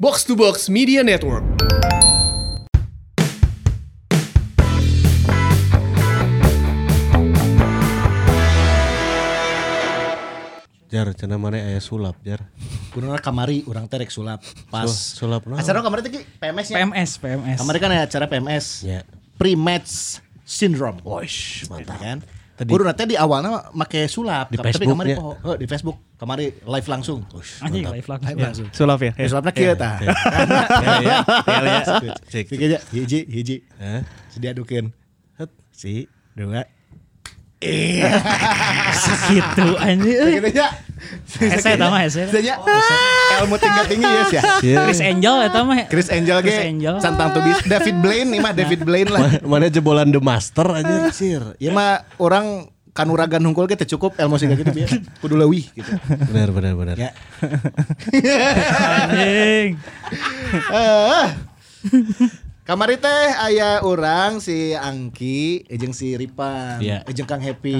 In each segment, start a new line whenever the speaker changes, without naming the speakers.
Box to Box Media Network.
Jar, cina mana ayah sulap, Jar.
Kurang kamari, orang terek sulap. Pas.
Sul- sulap naon?
Acara kamari tadi PMS ya.
PMS, PMS.
Kamari kan ada acara PMS.
Ya.
Pre-match syndrome. Wosh, mantap kan. Kudu nanti di awalnya make sulap.
Di
Tapi
Facebook
kamari
ya.
poho. Oh, di Facebook. Kamari live langsung. Wosh.
Anjing live langsung.
Live
Ya,
langsung.
Sulap ya. ya.
sulapnya kieu tah.
Ya, ya, ya, ya. Cek.
Cik aja, hiji, hiji.
Hah?
Si diadukeun.
Het, Si.
Dua.
Segitu anjing. Eh,
Gitu ya.
Hese eta mah hese.
Saja. Ilmu tingkat tinggi ya sih.
Sia.
Chris Angel eta mah.
Chris Angel ge.
Chris Angel.
Santang tubis. David Blaine nih mah David Blaine lah.
Ma- Mana jebolan The Master aja, Ah, sir.
Ya mah orang kanuragan hungkul kita cukup ilmu sehingga gitu biar kudu leuwih gitu.
Benar, benar, benar.
Ya.
Anjing.
Eh. Kamari teh aya orang si Angki, jeung si Ripan,
Iya.
jeung Ya. Kang Happy.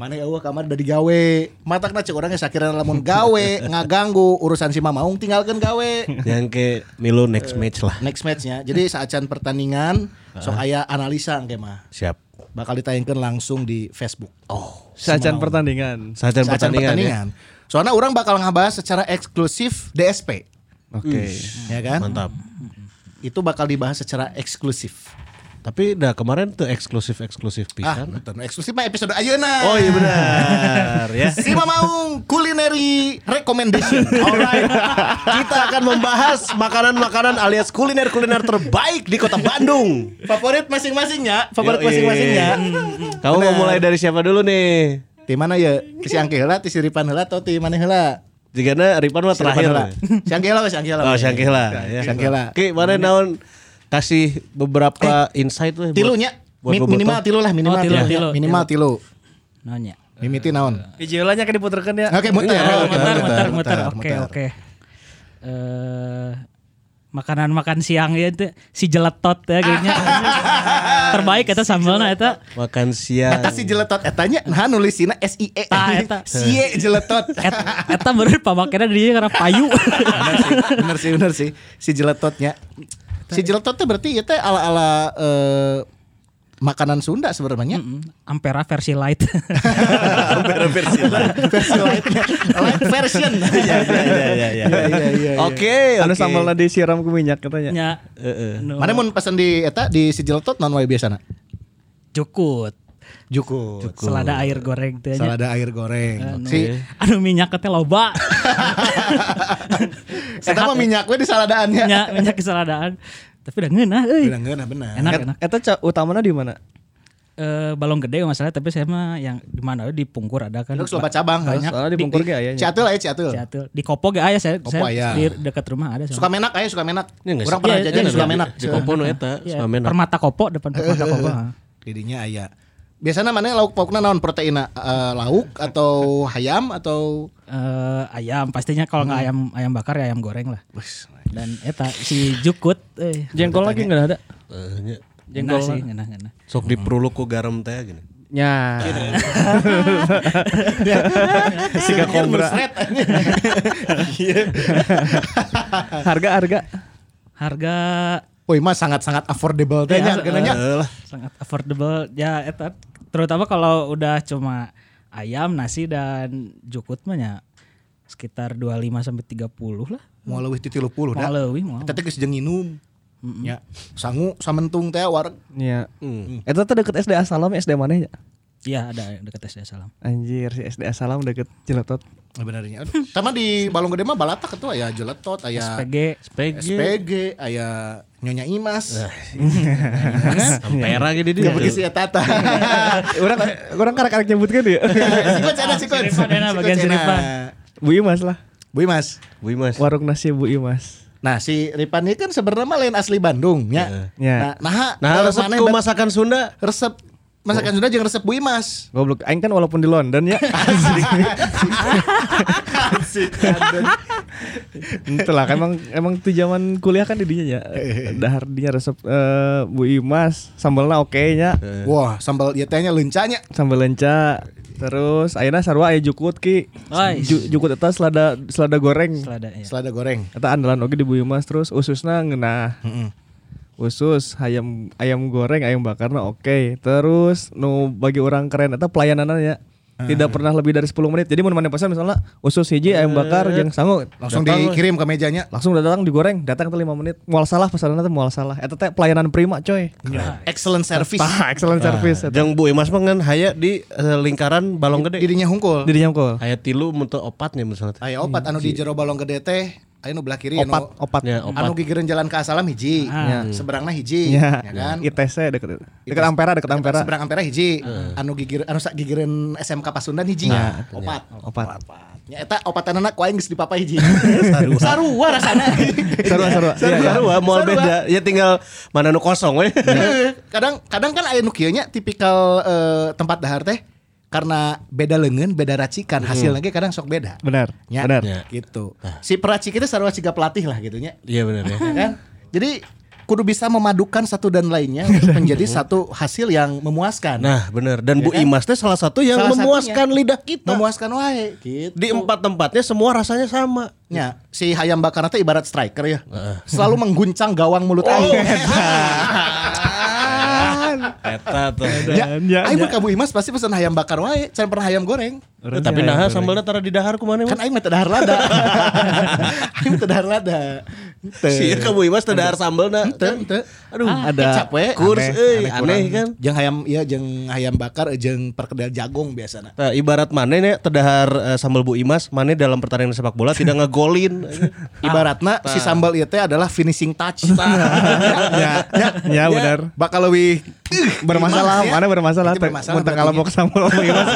Mana eueuh kamar udah digawe. Matakna cek urang sakira lamun gawe ngaganggu urusan si Mamaung tinggalkan gawe.
Yang ke Milo next match lah.
Next matchnya. Jadi saacan pertandingan sok aya analisa engke mah.
Siap.
Bakal ditayangkan langsung di Facebook. Oh.
Sajian pertandingan.
Sajian
Saacan
pertandingan, ya.
pertandingan. Soalnya orang bakal ngebahas secara eksklusif DSP,
Oke.
Hmm.
ya kan?
Mantap.
Itu bakal dibahas secara eksklusif.
Tapi dah kemarin tuh eksklusif-eksklusif
Ah,
pisan.
betul. Eksklusif mah episode nah. ayeuna.
nah. Oh iya benar ya.
Si Mamaung culinary recommendation.
Alright. Kita akan membahas makanan-makanan alias kuliner-kuliner terbaik di Kota Bandung.
favorit masing-masingnya, favorit
Yoi.
masing-masingnya.
Kamu mau mulai dari siapa dulu nih?
Di mana ya? Ti Si Angki heula, ti si Ripan heula atau ti mana heula?
Jigana Ripan mah
Si Ripan
terakhir.
heula. Si Angki heula, si Angki heula.
Oh, Syangkih lah. ya.
Syangkih lah.
Oke, mana naon kasih beberapa insight lah. buat-
Eh, Tilunya
buat
Mi-
Bobotoh.
minimal tilu lah, minimal
Oh, tilu,
tilu.
tilu,
Minimal tilu.
Nanya.
Mimiti naon?
Videolanya kan diputerkan ya.
Oke, muter,
Iya,
muter,
Muter, muter, muter.
muter,
Oke,
muter.
oke. Eh makanan makan siang ya itu si jeletot ya kayaknya terbaik eta sambalna eta
makan siang.
Eta si jeletot etanya nah nulisina S I E
Tah, Ah, eta.
Sie jeletot
Et- eta bener pamakena di dieu karena payu
bener sih bener sih bener sih si jeletotnya si jeletot teh berarti ya teh ala ala makanan Sunda sebenarnya
Hmm. ampera versi light
versi lightnya light version
Iya,
Iya,
Ya, ya, ya, ya, ya. Oke,
Anu
oke.
sambalnya disiram ke minyak katanya.
nya anu,
mana mun pesan di eta di si jeletot non wae biasana
jukut
juku
selada air goreng teh nya.
salada air goreng
Anu,
si
anu minyaknya teh loba
eta mah minyak we di saladaannya
nya ya? minyak keseladaan tapi udah ngeunah euy
bener bener bener
enak enak
Eta ca- utamanya di mana?
Eh, balong gede nggak masalah tapi saya mah yang di mana di Pungkur ada kan
Terus loba cabang
banyak
Soalnya di Bungkur ge ayahnya.
Ciatul aja Ciatul.
Ciatul. di Kopo gak ayah
ya?
saya,
Kopo
saya
aya.
di dekat rumah ada
Suka menak aja suka menak.
Ini nggak
Orang
sih?
pernah
Iya,
jajan
iya,
suka
iya.
menak.
Di Kompono eta,
Iya,
sama enak.
permata Kopo depan permata Kopo ah. ha.
Didinya aya. Biasanya mana lauk paukna naon proteina Eh, lauk atau hayam atau
Eh, ayam pastinya kalau nggak ayam ayam bakar ya ayam goreng lah dan eta si jukut eh
Jengkol lagi nggak ada.
Eh, nya,
enak sih enak enak
Sok diperuluk ku garam teh gini.
Ya.
siga kobra.
Harga harga.
harga
Woi mah sangat-sangat affordable
Iya,
teh
eh,
nya harganya.
sangat affordable ya eta terutama kalau udah cuma ayam nasi dan jukut mah ya sekitar 25 sampai 30 lah
Mau leuwih ti 30
mau
da.
leuwih mau
Eta teh geus jeung nginum. Ya, sangu samentung teh wareg.
Ya. Eta tuh deket SDA Salam SDA mana ya?
iya ada dekat SD Salam
Anjir si SDA Salam deket Ciletot.
Benernya. Tama di Balong Gede mah balatak itu aya jeletot,
Ya.
aya
PG
SPG, aya Nyonya Imas.
Ampera gini Eh. dia.
Ya bagi si Tata.
Orang orang karek-karek nyebutkan
Iya.
ya.
Si Coach ada si Coach.
Si Ripan ada,
Si
bagian
Coach
si
ada.
Ripan.
Bu Imas lah.
Bu Imas.
Wih Mas.
Warung nasi Bu Imas.
Nah si Ripan ini kan sebenarnya mah lain asli Bandung ya. Nah,
Iya.
nah,
Nah,
kalau
resep
mana
ku
bet-
masakan Sunda.
resep masakan Sunda jeung resep Bu Imas.
Goblok aing kan walaupun di London ya. Itulah kan emang emang tuh zaman kuliah kan didinya ya. Dahar dinya resep eh, Bu Imas sambalnya oke nya.
Iya.
Wah, sambal ieu teh nya leuncanya.
Sambal lenca Terus ayeuna sarua aya jukut ki.
Oi.
Ju- jukut eta selada selada goreng.
Selada
Iya.
ya.
Selada goreng.
Eta andalan oge di Buyumas terus ususna ngeunah. Usus ayam ayam goreng, ayam bakarna oke. Terus nu bagi orang keren eta pelayanannya ya. Tidak pernah lebih dari 10 menit. Jadi mun mana pesan misalnya usus hiji ayam bakar jeung sangu
Langsung
datang,
dikirim ke mejanya.
langsung datang digoreng, datang teh 5 menit. Moal salah pesananna teh moal salah. Eta teh pelayanan prima coy.
Iya.
Excellent service.
Tah, excellent service. eta.
Jang Bu Imas mah ngan haya di eh, lingkaran balong gede.
Dirinya hungkul.
Dirinya kol.
Haya tilu muntah opatnya misalnya. teh.
Aya opat anu di
iya.
jero balong gede teh, aya nu belah kiri anu-
Opat, opat.
Ya,
anu
opat. Ah,
gigireun jalan ke asalam hiji, seberangna hiji,
Iya,
ya kan?
ITC deket deket Ampera, deket Ampera.
Seberang Ampera hiji,
Ah.
anu gigir anu sak gigireun SMK Pasundan hiji. opat.
Nah, Opat.
Ya eta opatan anak ku aing geus dipapa hiji. Sarua rasana.
Sarua, sarua.
Seru
Iya,
seru
iya.
ah, moal
Seru,
beda. Ya tinggal mana nu kosong we.
kadang kadang kan aya nu kieu nya tipikal eh, tempat dahar teh karena beda lengan, beda racikan, hasilnya ge kadang sok beda.
Iya. Benar,
Ya,
benar.
Ya.
gitu. Si peracik itu sarua siga pelatih lah gitu nya.
Iya benar ya.
ya kan? Jadi kudu bisa memadukan satu dan lainnya untuk menjadi satu hasil yang memuaskan.
Nah benar. Dan Bu Imas teh salah satu yang
Salah
memuaskan
satunya.
lidah kita.
memuaskan wae gitu.
Di empat tempatnya semua rasanya sama.
Ya, si hayam bakar itu ibarat striker ya. Selalu mengguncang gawang mulut aing. Ya.
Eta tuh. Iya.
ya,
Ya,
aing mah ka Bu Imas pasti pesan hayam bakar wae, can pernah hayam goreng.
Orang
Tapi
yang
nah
goreng.
sambalnya tara di dahar kumana
Kan aing mah teu dahar lada. aing mah teu dahar lada. Teu.
Sih ka Bu Imas teh dahar sambal na.
Teu, teu.
Aduh,
ada
kecap we.
kurs
Aneh,
euy,
aneh
Ah, aneh
kurang.
kan.
Jeung hayam ya jeung hayam bakar eh, jeung perkedel jagong biasana.
Nah, ibarat mana nih terdahar eh, sambal Bu Imas, mana dalam pertandingan sepak bola tidak ngegolin.
Ibaratna si sambal ieu teh adalah finishing touch. Iya,
ya, ya, ya, benar.
Bakal leuwih Gimana
Bermasalah,
sih ya?
mana bermasalah?
Itu bermasalah
Mun teu
berarti.
ngalombok sambal sama Imas,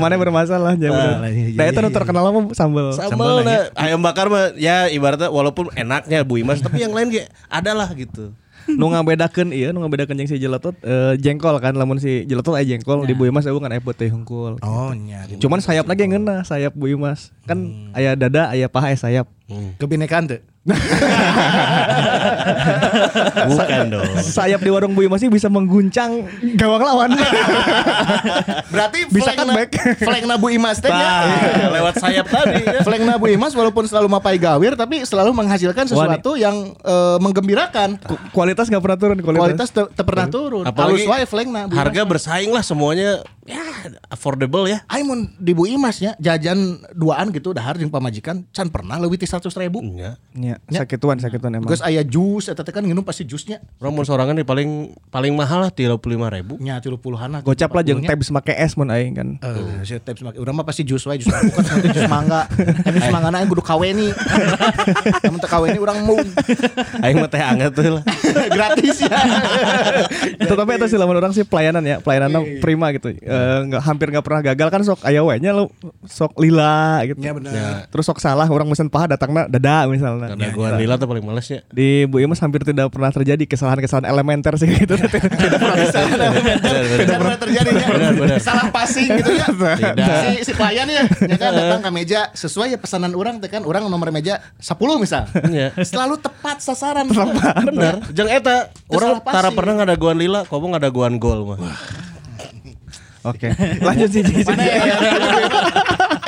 mana bermasalah ya benar. Da eta nu terkenal mah sambal.
Sambal nah, ayam bakar mah ya ibaratnya walaupun enaknya Bu Imas, tapi yang lain ge adalah gitu.
Nu ngabedakeun ieu, nu ngabedakeun jeung si jeletot eh, jengkol kan lamun si jeletot aya jengkol di Bu Imas eueuh kan aya putih hungkul.
Oh, nya.
Cuman sayap lagi yang ngena sayap Bu Imas. Kan aya dada, aya paha, aya sayap.
Kebinekaan tuh.
Bukan dong.
Kan Sayap di warung Bu Imas ini bisa mengguncang gawang lawan.
Berarti
Bisa
flagna-
comeback.
flagna Bu Imas teh
Nah,
nya.
lewat sayap tadi. ya.
Flagna Bu Imas walaupun selalu mapai gawir tapi selalu menghasilkan sesuatu yang eh, menggembirakan.
Ku- Kualitas nggak pernah turun
Kualitas te- te- pernah turun. Halus
Apalagi
wae flagna Bu
harga
Imas.
bersaing lah semuanya ya affordable ya.
Aing mun di Bu Imas nya jajan duaan gitu dahar jeung pamajikan can pernah leuwih ti 100 ribu.
Iya.
Ya, sakituan sakituan emang.
Geus aya jus eta teh kan nginum pasti jusnya.
Romun sorangan di paling paling mahal lah 35 ribu.
Nya 30-an lah.
Gocap lah jeung
40-nya.
tabs make es mun aing kan.
Eh, si tips make urang mah pasti jus wae jus alpukat sampai jus mangga. Tapi
Eh.
jus mangga kudu kaweni. Namun teu kaweni urang mau
Aing mah teh anget tuh lah.
gratis ya.
Tetapi itu sih lamun orang sih pelayanan ya,
Iya.
pelayanan prima gitu. Eh nggak hampir nggak pernah gagal kan sok aya we nya lu sok lila gitu.
Iya, benar.
Ya. Terus sok salah orang mesen paha datangna dada misalnya.
Karena
Iya.
gua lila tuh paling males ya.
Di Bu Imas hampir tidak pernah terjadi kesalahan-kesalahan elementer sih gitu.
Iya.
tidak pernah
Tidak pernah terjadi ya.
Benar, benar.
Salah passing gitu ya.
Tidak.
Si, si pelayan ya, ya kan datang ke meja sesuai ya pesanan orang teh kan orang nomor meja 10 misal.
Iya.
Selalu tepat sasaran.
Bener. Jeng eta orang
salah pasti.
tara pernah ngadaguan lila, komo ngadaguan gol mah.
Oke. Lanjut sih. Ji,
Mana
Ji.
ya?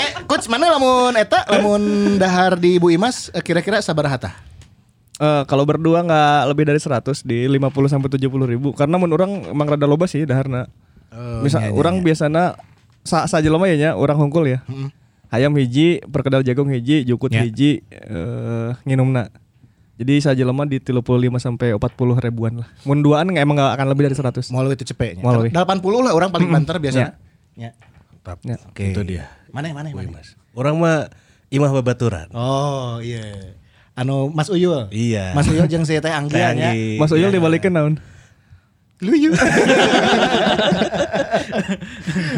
Eh, coach mana lamun eta lamun dahar di Bu Imas eh, kira-kira sabar hatah?
Eh, kalau berdua nggak lebih dari 100 di 50 sampai 70 ribu karena menurut orang emang rada loba sih daharna.
Oh, iya,
Misal orang biasana sa saja lama ya nya, orang hungkul ya. Ayam hiji, perkedel jagung hiji, jukut hiji, eh nginumna. Jadi saja lama di 35 sampai 40 ribuan lah. Mun duaan nggak- emang nggak akan lebih dari 100.
Mau lebih itu cepetnya.
Mau leuwih.
80 lah orang paling banter biasanya. Ya.
Ya.
Oke. Itu dia.
Mana mana mana.
Orang mah imah babaturan.
Oh iya. Anu Mas Uyul.
Iya.
Mas Uyul jeung si teh Anggia nya.
Tanggi.
Mas Uyul dibalikin naon?
Luyu.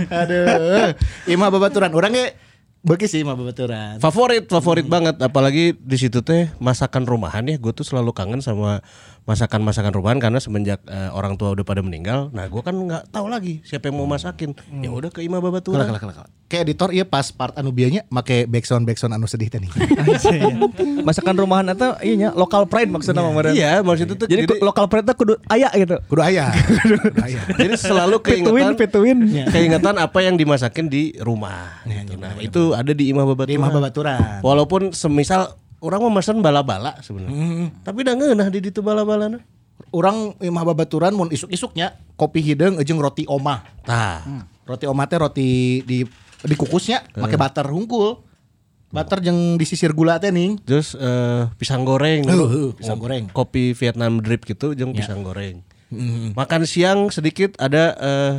Aduh. Imah Iya, babaturan orang ge Bagi sih mah bebaturan.
Favorit, favorit banget. Apalagi di situ teh masakan rumahan ya. Gue tuh selalu kangen sama masakan-masakan rumahan karena semenjak eh, orang tua udah pada meninggal, nah gue kan nggak tahu lagi siapa yang mau masakin. Ya udah ke Ima
Kelak,
Babaturan.
kelak, kelak, kelak. Kayak editor iya pas part anu bianya make backsound backsound anu sedih tadi.
Masakan rumahan atau iya nya, local pride maksudnya kemarin.
Iya, maksudnya tuh
Jadi,
jadi,
ku- local pride tuh kudu aya gitu.
Kudu ayah. Kudu Iya, ayah.
jadi selalu
Pituin,
keingetan
pituin.
keingetan apa yang dimasakin di rumah. gitu. Nah, itu ada di Ima Babaturan.
Di mah bebaturan.
Walaupun semisal orang mau mesen bala-bala sebenarnya. Tapi udah ngeunah di nah. ditu bala-balana.
Orang imah iya, babaturan mun isuk-isuknya kopi hideng jeung roti omah.
Tah.
Hmm. Roti omah teh roti di dikukusnya make butter hungkul. Butter jeung disisir gula teh ning.
Terus eh, pisang goreng,
Heuh, heuh, pisang goreng.
kopi Vietnam drip gitu,
Ya.
jeung pisang goreng.
Hmm.
Makan siang sedikit ada eh,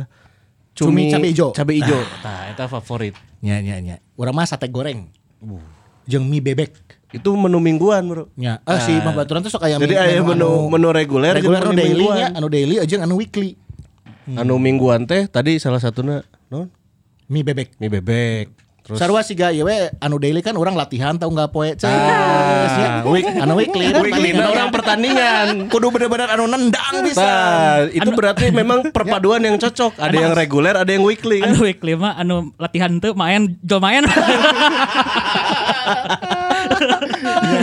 Cumi
cumi,
cabe Ah. ijo.
Cabe ijo. Tah, eta favorit.
Nya nya nya. Urang mah sate goreng. Jeung mie bebek.
Itu menu mingguan, Bro.
Nya. Ah
eh.
si imah babaturan tuh sok aya
Jadi
mie-
aya menu menu reguler, jeung
reguler Hmm. anu
menu
daily
mingguan.
nya, anu daily jeung anu weekly.
Anu mingguan teh tadi salah satunya non
Mie bebek.
mie bebek. Terus
Sarua siga ieu we anu daily kan orang latihan tau nggak poe cek.
Ah, week-
anu weekly.
Weekly, nah, orang pertandingan.
kudu bener-bener anu nendang
Nah,
bisa. Anu- Ya.
itu berarti memang perpaduan yang cocok. Ada yang reguler, ada yang weekly. kan?
Anu weekly mah anu latihan tuh main jual main.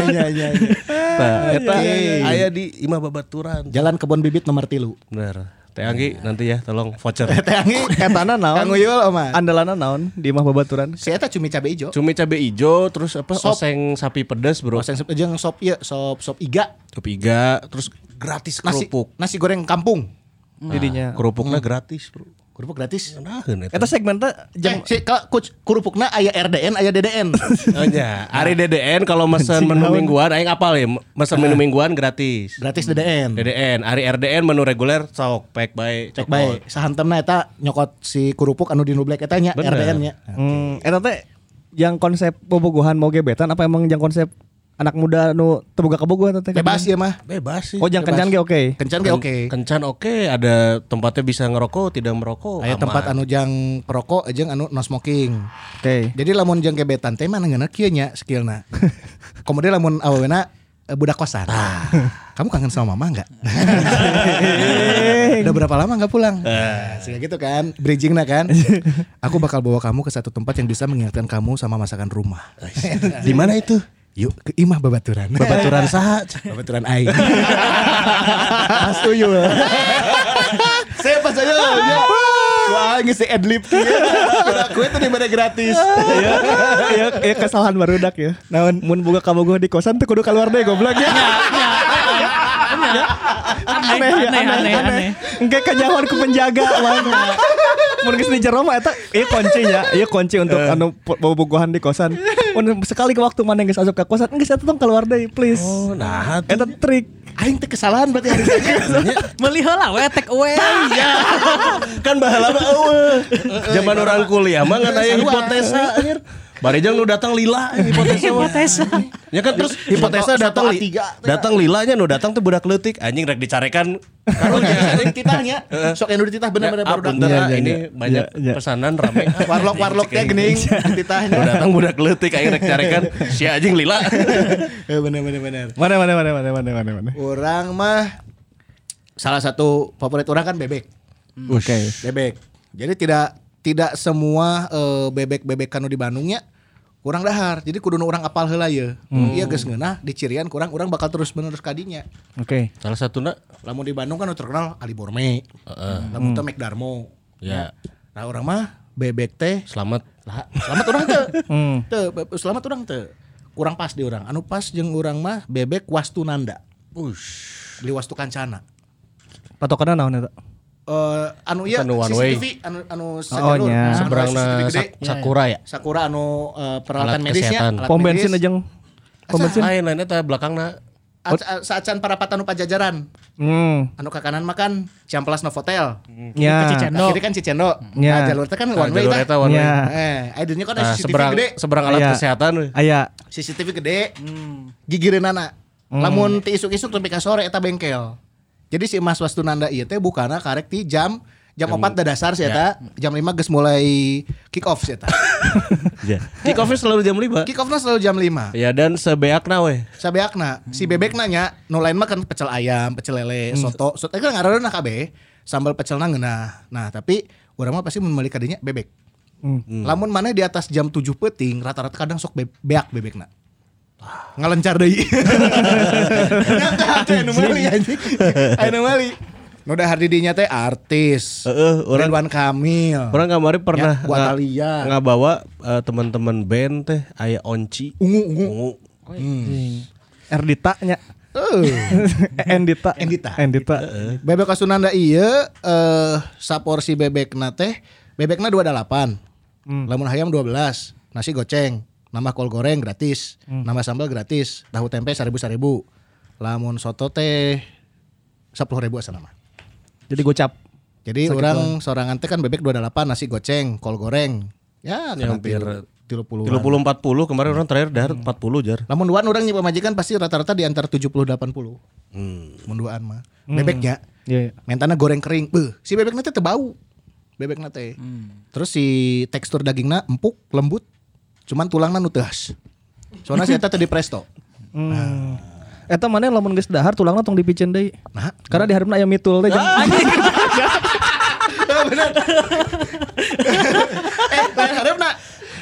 Iya iya iya. iya.
Nah, eta
Iya, iya, iya.
aya di Imah Babaturan.
Jalan kebon bibit nomor 3.
Bener. Teh Anggi
Nah.
nanti ya tolong voucher.
Teangi
Etana naon?
Kang Uyul oma.
Andalana naon di mah
Ah.
babaturan.
Si eta cumi cabe ijo.
Cumi cabe ijo, terus apa?
Sop.
Oseng sapi pedas, Bro.
Oseng sop jeung sop ieu, sop sop iga.
Kopi iga, terus gratis
Nasi Ya. Hmm.
kerupuk.
nasi goreng kampung.
Jadinya.
Kerupuknya gratis, Bro.
Kerupuk gratis.
Naheun eta.
Eta segmen teh
Eh, si ka- kuc- kerupukna aya RDN aya DDN.
Oh, nya. Ari
Nah.
DDN kalau mesen menu mingguan aing apal ya, mesen menu mingguan gratis.
Gratis DDN.
DDN, Ari RDN menu reguler sok pack bae.
Cek
cokot.
bae sahantemna eta nyokot si kerupuk anu di nublek eta nya
Bener.
RDN nya.
Hmm, eta teh yang konsep bobogohan mau gebetan apa emang yang konsep anak muda nu terbuka kebogohan teh?
Bebas ya mah.
Bebas sih.
Oh, yang kencan ge oke.
Kencan ge oke.
Kencan oke, ada tempatnya bisa ngerokok, tidak merokok.
Aya
aman.
tempat anu jang perokok jeung anu no smoking.
Oke.
Eh. Jadi lamun jang gebetan teh mana ngeunah kieu nya skillna. Kemudian lamun awewena eh, budak kosan.
Ah.
Kamu kangen sama mama enggak?
Eh.
Udah berapa lama enggak pulang? Sehingga gitu kan, bridging nah kan. Aku bakal bawa kamu ke satu tempat yang bisa mengingatkan kamu sama masakan rumah.
Di mana itu?
Yuk ke Imah Babaturan.
Babaturan saha?
Babaturan aing. Mas Uyul. Saya pas aja lah. ya. Wah, ngisi adlib kieu.
ya.
Kue tuh dimana gratis.
Iya, iya, iya, kesalahan barudak ya. Naon mun boga kabogohan di kosan teh kudu keluar deh goblok ya.
aneh, aneh, aneh, aneh.
Engke kejauhan ku penjaga mana. Mun geus di jero mah eta ieu kunci nya, ieu kunci untuk anu po- bobogohan di kosan. Mun sekali ke waktu mana geus asup ke kosan, geus eta tong keluar deh please.
Oh, nah
Eta trik.
Aing teh kesalahan berarti hari ini.
Meuli heula we take away.
kan bahala mah eueuh. Zaman orang kuliah mah ngan aya hipotesa anjir. Barejang nu datang lila eh, hipotesa. mah.
Hipotesa.
Ya kan terus hipotesa
Satu-
datang
satu
li-
A3.
datang lilanya nu datang teh budak leutik anjing rek dicarekan
Aing titahnya. Sok anu dititah bener-bener
Ya,
baru
apunten,
Iya,
ah,
iya,
ini
iya.
banyak
Iya, iya.
pesanan rame.
Warlock warlock teh gening dititahnya.
Nu datang budak leutik aing rek carekan si anjing lila.
Eh bener bener bener.
Mana mana mana mana mana mana mana.
Orang mah salah satu favorit orang kan bebek.
Oke.
bebek. Jadi tidak tidak semua eh, bebek-bebek kanu di Bandungnya kurang dahar. Jadi kudu nu urang apal heula ye.
Hmm.
Iya geus ngeunah dicirian kurang urang bakal terus menerus kadinya.
Oke.
Salah satuna
Lamun di Bandung kan nu terkenal Ali Borme. Lamun
Hmm.
teh McDarmo.
ya
Nah orang mah bebek teh
selamat
lah, selamat orang teh.
Hmm.
Teu be- selamat orang teh. Kurang pas di orang. Anu pas jeung urang mah bebek Wastu Nanda. Di Wastu Kancana.
Patokanna naon eta?
Eh, anu ya
Bukan one way.
anu anu
Oh, nya.
anu CCTV
seberangna
gede.
sak- sakura ya.
Sakura anu eh, peralatan
Alat
medisnya,
kesehatan.
alat
Pom
medis.
bensin aja. Pom bensin.
Lain lain eta belakangna
Ac- a- Saacan para patanu pajajaran.
Hmm.
Anu ke kanan makan Ciamplas Novotel.
Ya.
Ke kiri kan Cicendo. Nah,
Ya.
jalur teh kan
Hmm. Nah,
one way
jalur
tah.
eta one way.
Ya.
Eh, ayeuna kan ada
Nah,
CCTV
seberang
gede.
seberang alat
Iya.
kesehatan weh.
Aya.
CCTV gede.
Hmm.
Gigireunana.
Hmm.
Lamun ti isuk-isuk sampai ka sore eta bengkel. Jadi si Mas Wastunanda ieu teh bukana karek ti jam jam 4 da dasar sih eta, jam 5 geus mulai kick off sih eta.
Ya. Kick off selalu jam 5.
kick offnya selalu jam 5.
Ya dan sebeakna we.
Sabeakna, si bebek nanya, nu lain mah kan pecel ayam, pecel lele,
Hmm.
soto, soto eh, kan ngaranna kabeh, sambal pecel ngeunah. Nah, tapi urang mah pasti mun meuli ka dinya bebek.
Hmm.
Lamun mana di atas jam 7 peting rata-rata kadang sok be beak bebekna. Ngalencar deui. Nyata teh nu meuli anjing. Anu meuli. Nu dahar di dinya teh artis.
Heeh, urang-
Ridwan Kamil.
Orang kemarin pernah
Ya, buat Thalia.
nggak bawa teman-teman band teh aya onci.
ungu ungu.
Ungu.
Hmm. Erdita nya.
Eh.
Endita.
Endita.
Endita.
Bebek Kasunanda iya eh saporsi bebekna teh bebekna 28.
Hmm.
Lamun ayam 12, nasi goceng, nama kol goreng gratis,
Hmm.
nama sambal gratis, tahu tempe 1000-1000. Lamun soto teh 10.000 asa nama.
Jadi gocap.
Jadi orang sorangan teh kan bebek 28 nasi goceng, kol goreng. Ya,
Ya, hampir
30.
30 40 kemarin orang terakhir dahar 40 jar.
Lamun duaan orang nyewa majikan pasti rata-rata di antara 70 80.
Hmm.
Mun duaan mah. Bebeknya
Iya. iya.
mentana goreng kering beuh si bebek nate teu bau bebek nate terus si tekstur dagingnya empuk lembut cuman tulangnya nu teu has soalnya si eta teu di presto
Hmm. Eta mana lamun geus dahar tulangna tong dipicen deui.
nah
Karena di hareup aya mitul teh. kan? jeung-
Ah.
eh lain hareup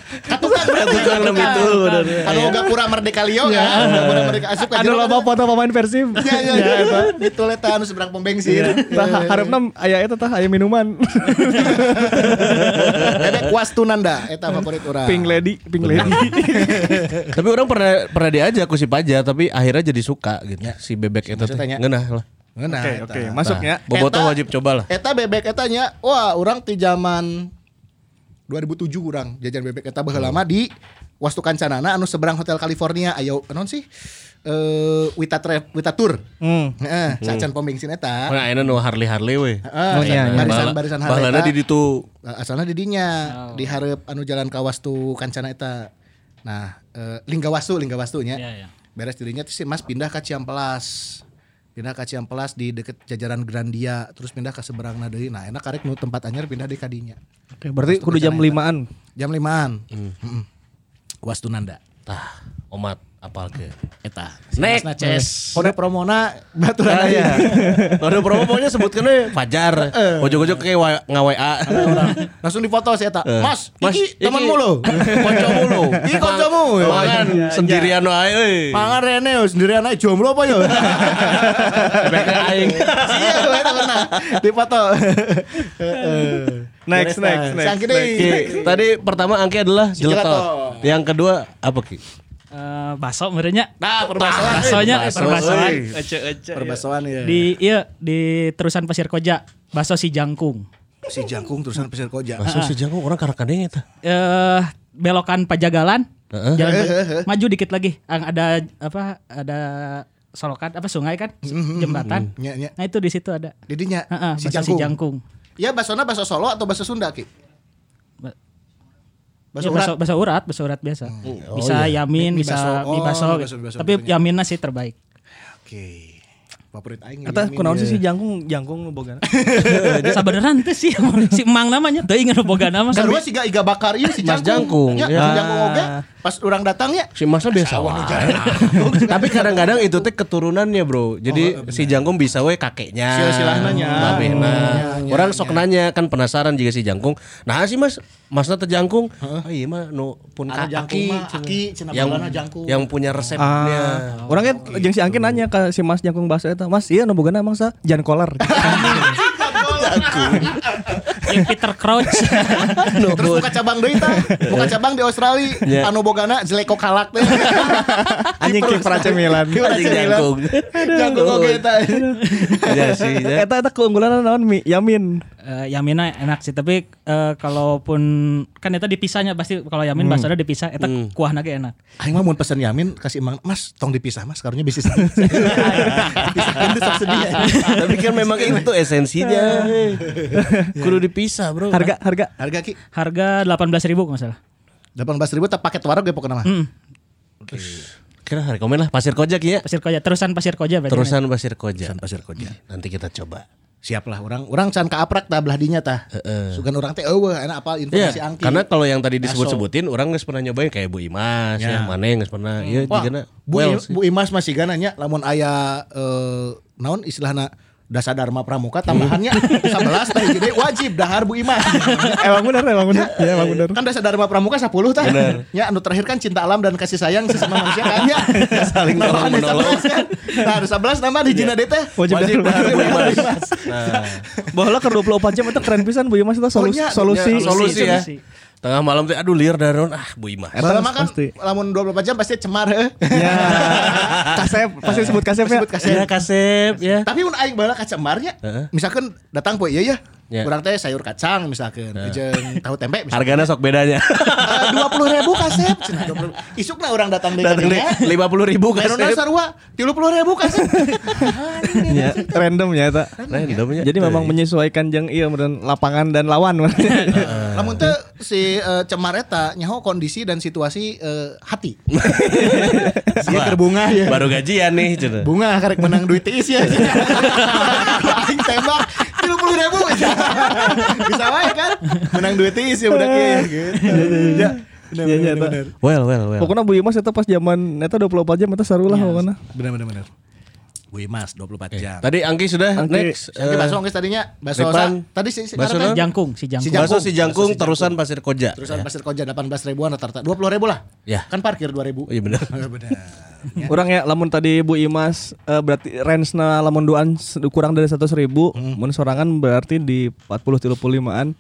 katukan
Katukan lem itu, bener.
kalau enggak pura merdeka lio kan enggak pura merdeka asup ka
Ada Iya. Anu loba Iya, foto pemain Persib.
ya
Iya,
ya ya itu letan seberang pom bensin
Ya. Tah hareup aya eta tah aya minuman.
Nah.
bebek kuas tunanda eta favorit urang
Pink lady, pink lady.
tapi orang pernah pernah diajak ku si Paja tapi akhirnya jadi suka gitu. Si bebek itu teh.
Ya. Maksudnya tanya.
Ngeunah lah.
Ngeunah
Oke,
eta. Nah,
oke, ya. masuknya.
Bobotoh
Eta-
wajib cobalah.
Eta bebek etanya, wah orang di zaman 2007 orang jajan bebek eta baheula lama di Wastu Kancanana anu seberang Hotel California ayo non sih eh Wita Trip Wita Tour.
Hmm.
Heeh, sacan pom bensin eta.
Mana enak nu Nah, Harley Harley we.
"Ah?" Heeh, Ya,
Oh, iya, iya.
barisan barisan Harley
Bahalana
eta.
di ditu
Eh, asalna di dinya
Oh.
di hareup anu jalan ka Wastu Kancana eta. Nah, eh, Lingga Wastu, Lingga Wastu nya.
Iya, iya.
Beres dirinya tuh si Mas pindah ke Ciampelas. Pindah ke Ciampelas di deket jajaran Grandia, terus pindah ke seberang deui. Nah, enak karek nu tempat anyar pindah di kadinya.
Oke, berarti kudu jam Hmm. 5-an.
Jam limaan. Mm. Wastu Nanda.
Tah, omat apal ke.
Eta.
Nek.
Mas Naces. Kode promona baturan
Ah,
aya.
iya. Kode promo pokoknya sebutkan deh Fajar. Ojok-ojok kayak wa- ngawa-wa.
Langsung difoto si eta.
Eh.
Mas,
Mas,
iki
iki.
temanmu lo.
Koncomu lo.
Iki koncomu.
Makan sendirian wae euy.
Pangan Rene sendirian aja jomblo apa ya?
Bebek aing.
Iya, gue itu pernah di foto.
Next, next, next.
Sangki deh.
Ki, Tadi pertama angke adalah
gelato.
jeletot. Yang kedua apa Ki?
Eh, baso merenya.
Nah, perbasoan.
Basonya eh,
baso,
perbasoan.
euy.
Perbasoan ya.
Di iya di terusan Pasir Koja, baso si jangkung.
si jangkung terusan pesir koja.
Langsung si jago orang karakadeng eta.
Eh belokan Pajagalan.
Heeh.
Jalan Ber- maju dikit lagi. Ang ada apa? Ada solokan apa sungai kan? Jembatan.
Nya nya.
Nah itu di situ ada.
Didinya
Heeh,
si jangkung.
baso si jangkung.
Ya basona baso Solo atau baso Sunda ki?
Ba-
Baso
Iya,
urat.
baso urat, baso urat biasa. bisa yamin,
Mi- mi
bisa
baso.
mi
Oh,
baso.
mi baso, mi baso
Tapi
tentunya.
yaminnya sih terbaik.
Oke. Favorit aing.
Iya.
Eta
Yamin,
kunaon
ya.
sih si jangkung, jangkung nu boga.
Sabeneran teh sih si Emang namanya teh ingat boga nama.
Sarua siga iga bakar ieu si
Mas jangkung,
jangkung. Ya,
ya.
si jangkung oge pas urang datang ya.
Si Masnya biasa wae. Tapi kadang-kadang itu teh keturunannya, Bro. Jadi
Oh,
si Jangkung bisa we kakeknya.
Silsilahnanya.
babena.
Iya,
Orang sok nanya kan penasaran jika si Jangkung. Nah, si Mas, Masna teh Jangkung. Oh iya mah nu pun
Anu jangkung
kaki.
mah, aki, cenah
Yang
bagelana jangkung. Ah.
yang punya resepnya.
Ah. Orang kan jeung si Angkin nanya ke si Mas Jangkung Baso eta, "Mas, iya nu bogana emang sa jan kolar."
Yang Peter Crouch.
Terus buka cabang deui tah. Buka cabang di Australia.
Ya.
Anu bogana jeleko kalak teh.
Anjing kiper AC Milan.
Kiper AC
Anjing
Milan.
jangkung.
Jangkung oge eta.
Ya sih. ya.
Eta eta keunggulan naon Mi? Yamin.
Eh, Yamina enak sih tapi eh, kalaupun kan eta dipisahnya pasti kalau Yamin bahasanya dipisah eta
Hmm.
kuahna ge enak.
Aing mah mun pesen Yamin kasih Mang, Mas tong dipisah Mas karunya bisnis. Dipisahin tuh sok sedih.
Tapi kan memang itu esensinya.
Iya.
Kudu dipisah, Bro.
Harga harga
Harga ki
Harga 18.000 kalau nggak salah.
18.000 tak paket warung ge pokoknya mah.
Iya. Kira rekomen lah pasir kojak ya.
Pasir Koja terusan Pasir Koja berarti.
Terusan pasir kojak. Iya.
Pasir koja.
Nanti kita coba.
siap lah orang orang can kaaprak tah belah dinya tah sugan orang teh eueuh enak apal
Iya,
informasi angki
karena kalau yang tadi disebut-sebutin orang nggak pernah nyobain kayak Bu Imas, ya.
Ya.
mana yang nggak pernah, iya
Wah,
jigana
Bu,
well
I-
sih.
Bu Imas masih gananya lamun aya eh, naon istilahna dasa dharma pramuka tambahannya 11 tah jadi wajib dahar Bu Imas.
emang bener, emang bener. Ya, emang bener.
kan dasa dharma pramuka 10 tah. Ya anu terakhir kan cinta alam dan kasih sayang sesama manusia kan ya.
Saling Iya.
Tambahan dasa
tolong-menolong.
11 kan. Nah, dasa 11 nama di jina teh.
Wajib
Wajib
dahar.
Bu Imas. Nah,
Bahwa ke 24 jam itu keren pisan Bu ya, Imas itu solusi
Pokoknya,
solusi.
ya, solusi ya.
solusi.
Tengah malam tuh aduh liar dari ah Bu Imas.
Eh,
Selama kan
Pasti.
lamun 24 jam pasti cemar heuh.
Ya. Kasep pasti disebut kasep ya.
Sebut kasih.
Ya kasep ya.
Tapi mun aing bala kaca marnya,
Heeh.
misalkan datang poe ieu ya.
Ya.
Kurang teh sayur kacang misalkan, jeung tahu tempe misalkan. Eh,
Hargana sok bedanya.
dua puluh ribu kasep Cina, 20.000. isuk lah orang datang dari
Datang deh
kadinya
lima puluh ribu kan.
Merona
kasep.
sarua tilu puluh ribu kasep
Ya, random ya eta.
Randomnya.
Jadi memang menyesuaikan jeung ieu meureun lapangan dan lawan.
lamun teh si eh, cemar eta nyaho kondisi dan situasi eh, hati
Ya.
dia
Wah,
terbunga ya
Baru gajian nih cina.
bunga karek menang duit tiis ya aing tembak tilu puluh ribu bisa wae kan menang duit tiis ya budak ya gitu ya
Iya, iya, eta.
Well well well.
Pokoknya Bu Imas eta pas zaman eta 24 jam eta saru
Iya.
lah pokoknya.
benar benar benar Bu Imas 24 jam.
Tadi Angki sudah
Angki.
next.
Oke,
Eh,
bakso geus tadinya bakso
Depan.
sa- tadi si, si
Bakso
karena teh-
naon?
Jangkung, si jangkung.
Si jangkung.
Bakso si jangkung terusan pasir koja.
Terusan Pasir Koja 18 ribuan rata-rata. 20 ribu lah.
Ya.
Kan parkir 2 ribu.
Oh, iya benar.
benar. Iya.
Orang ya lamun tadi Bu Imas eh, berarti range na lamun duaan se- kurang dari 100 ribu mun sorangan berarti di 40 35-an.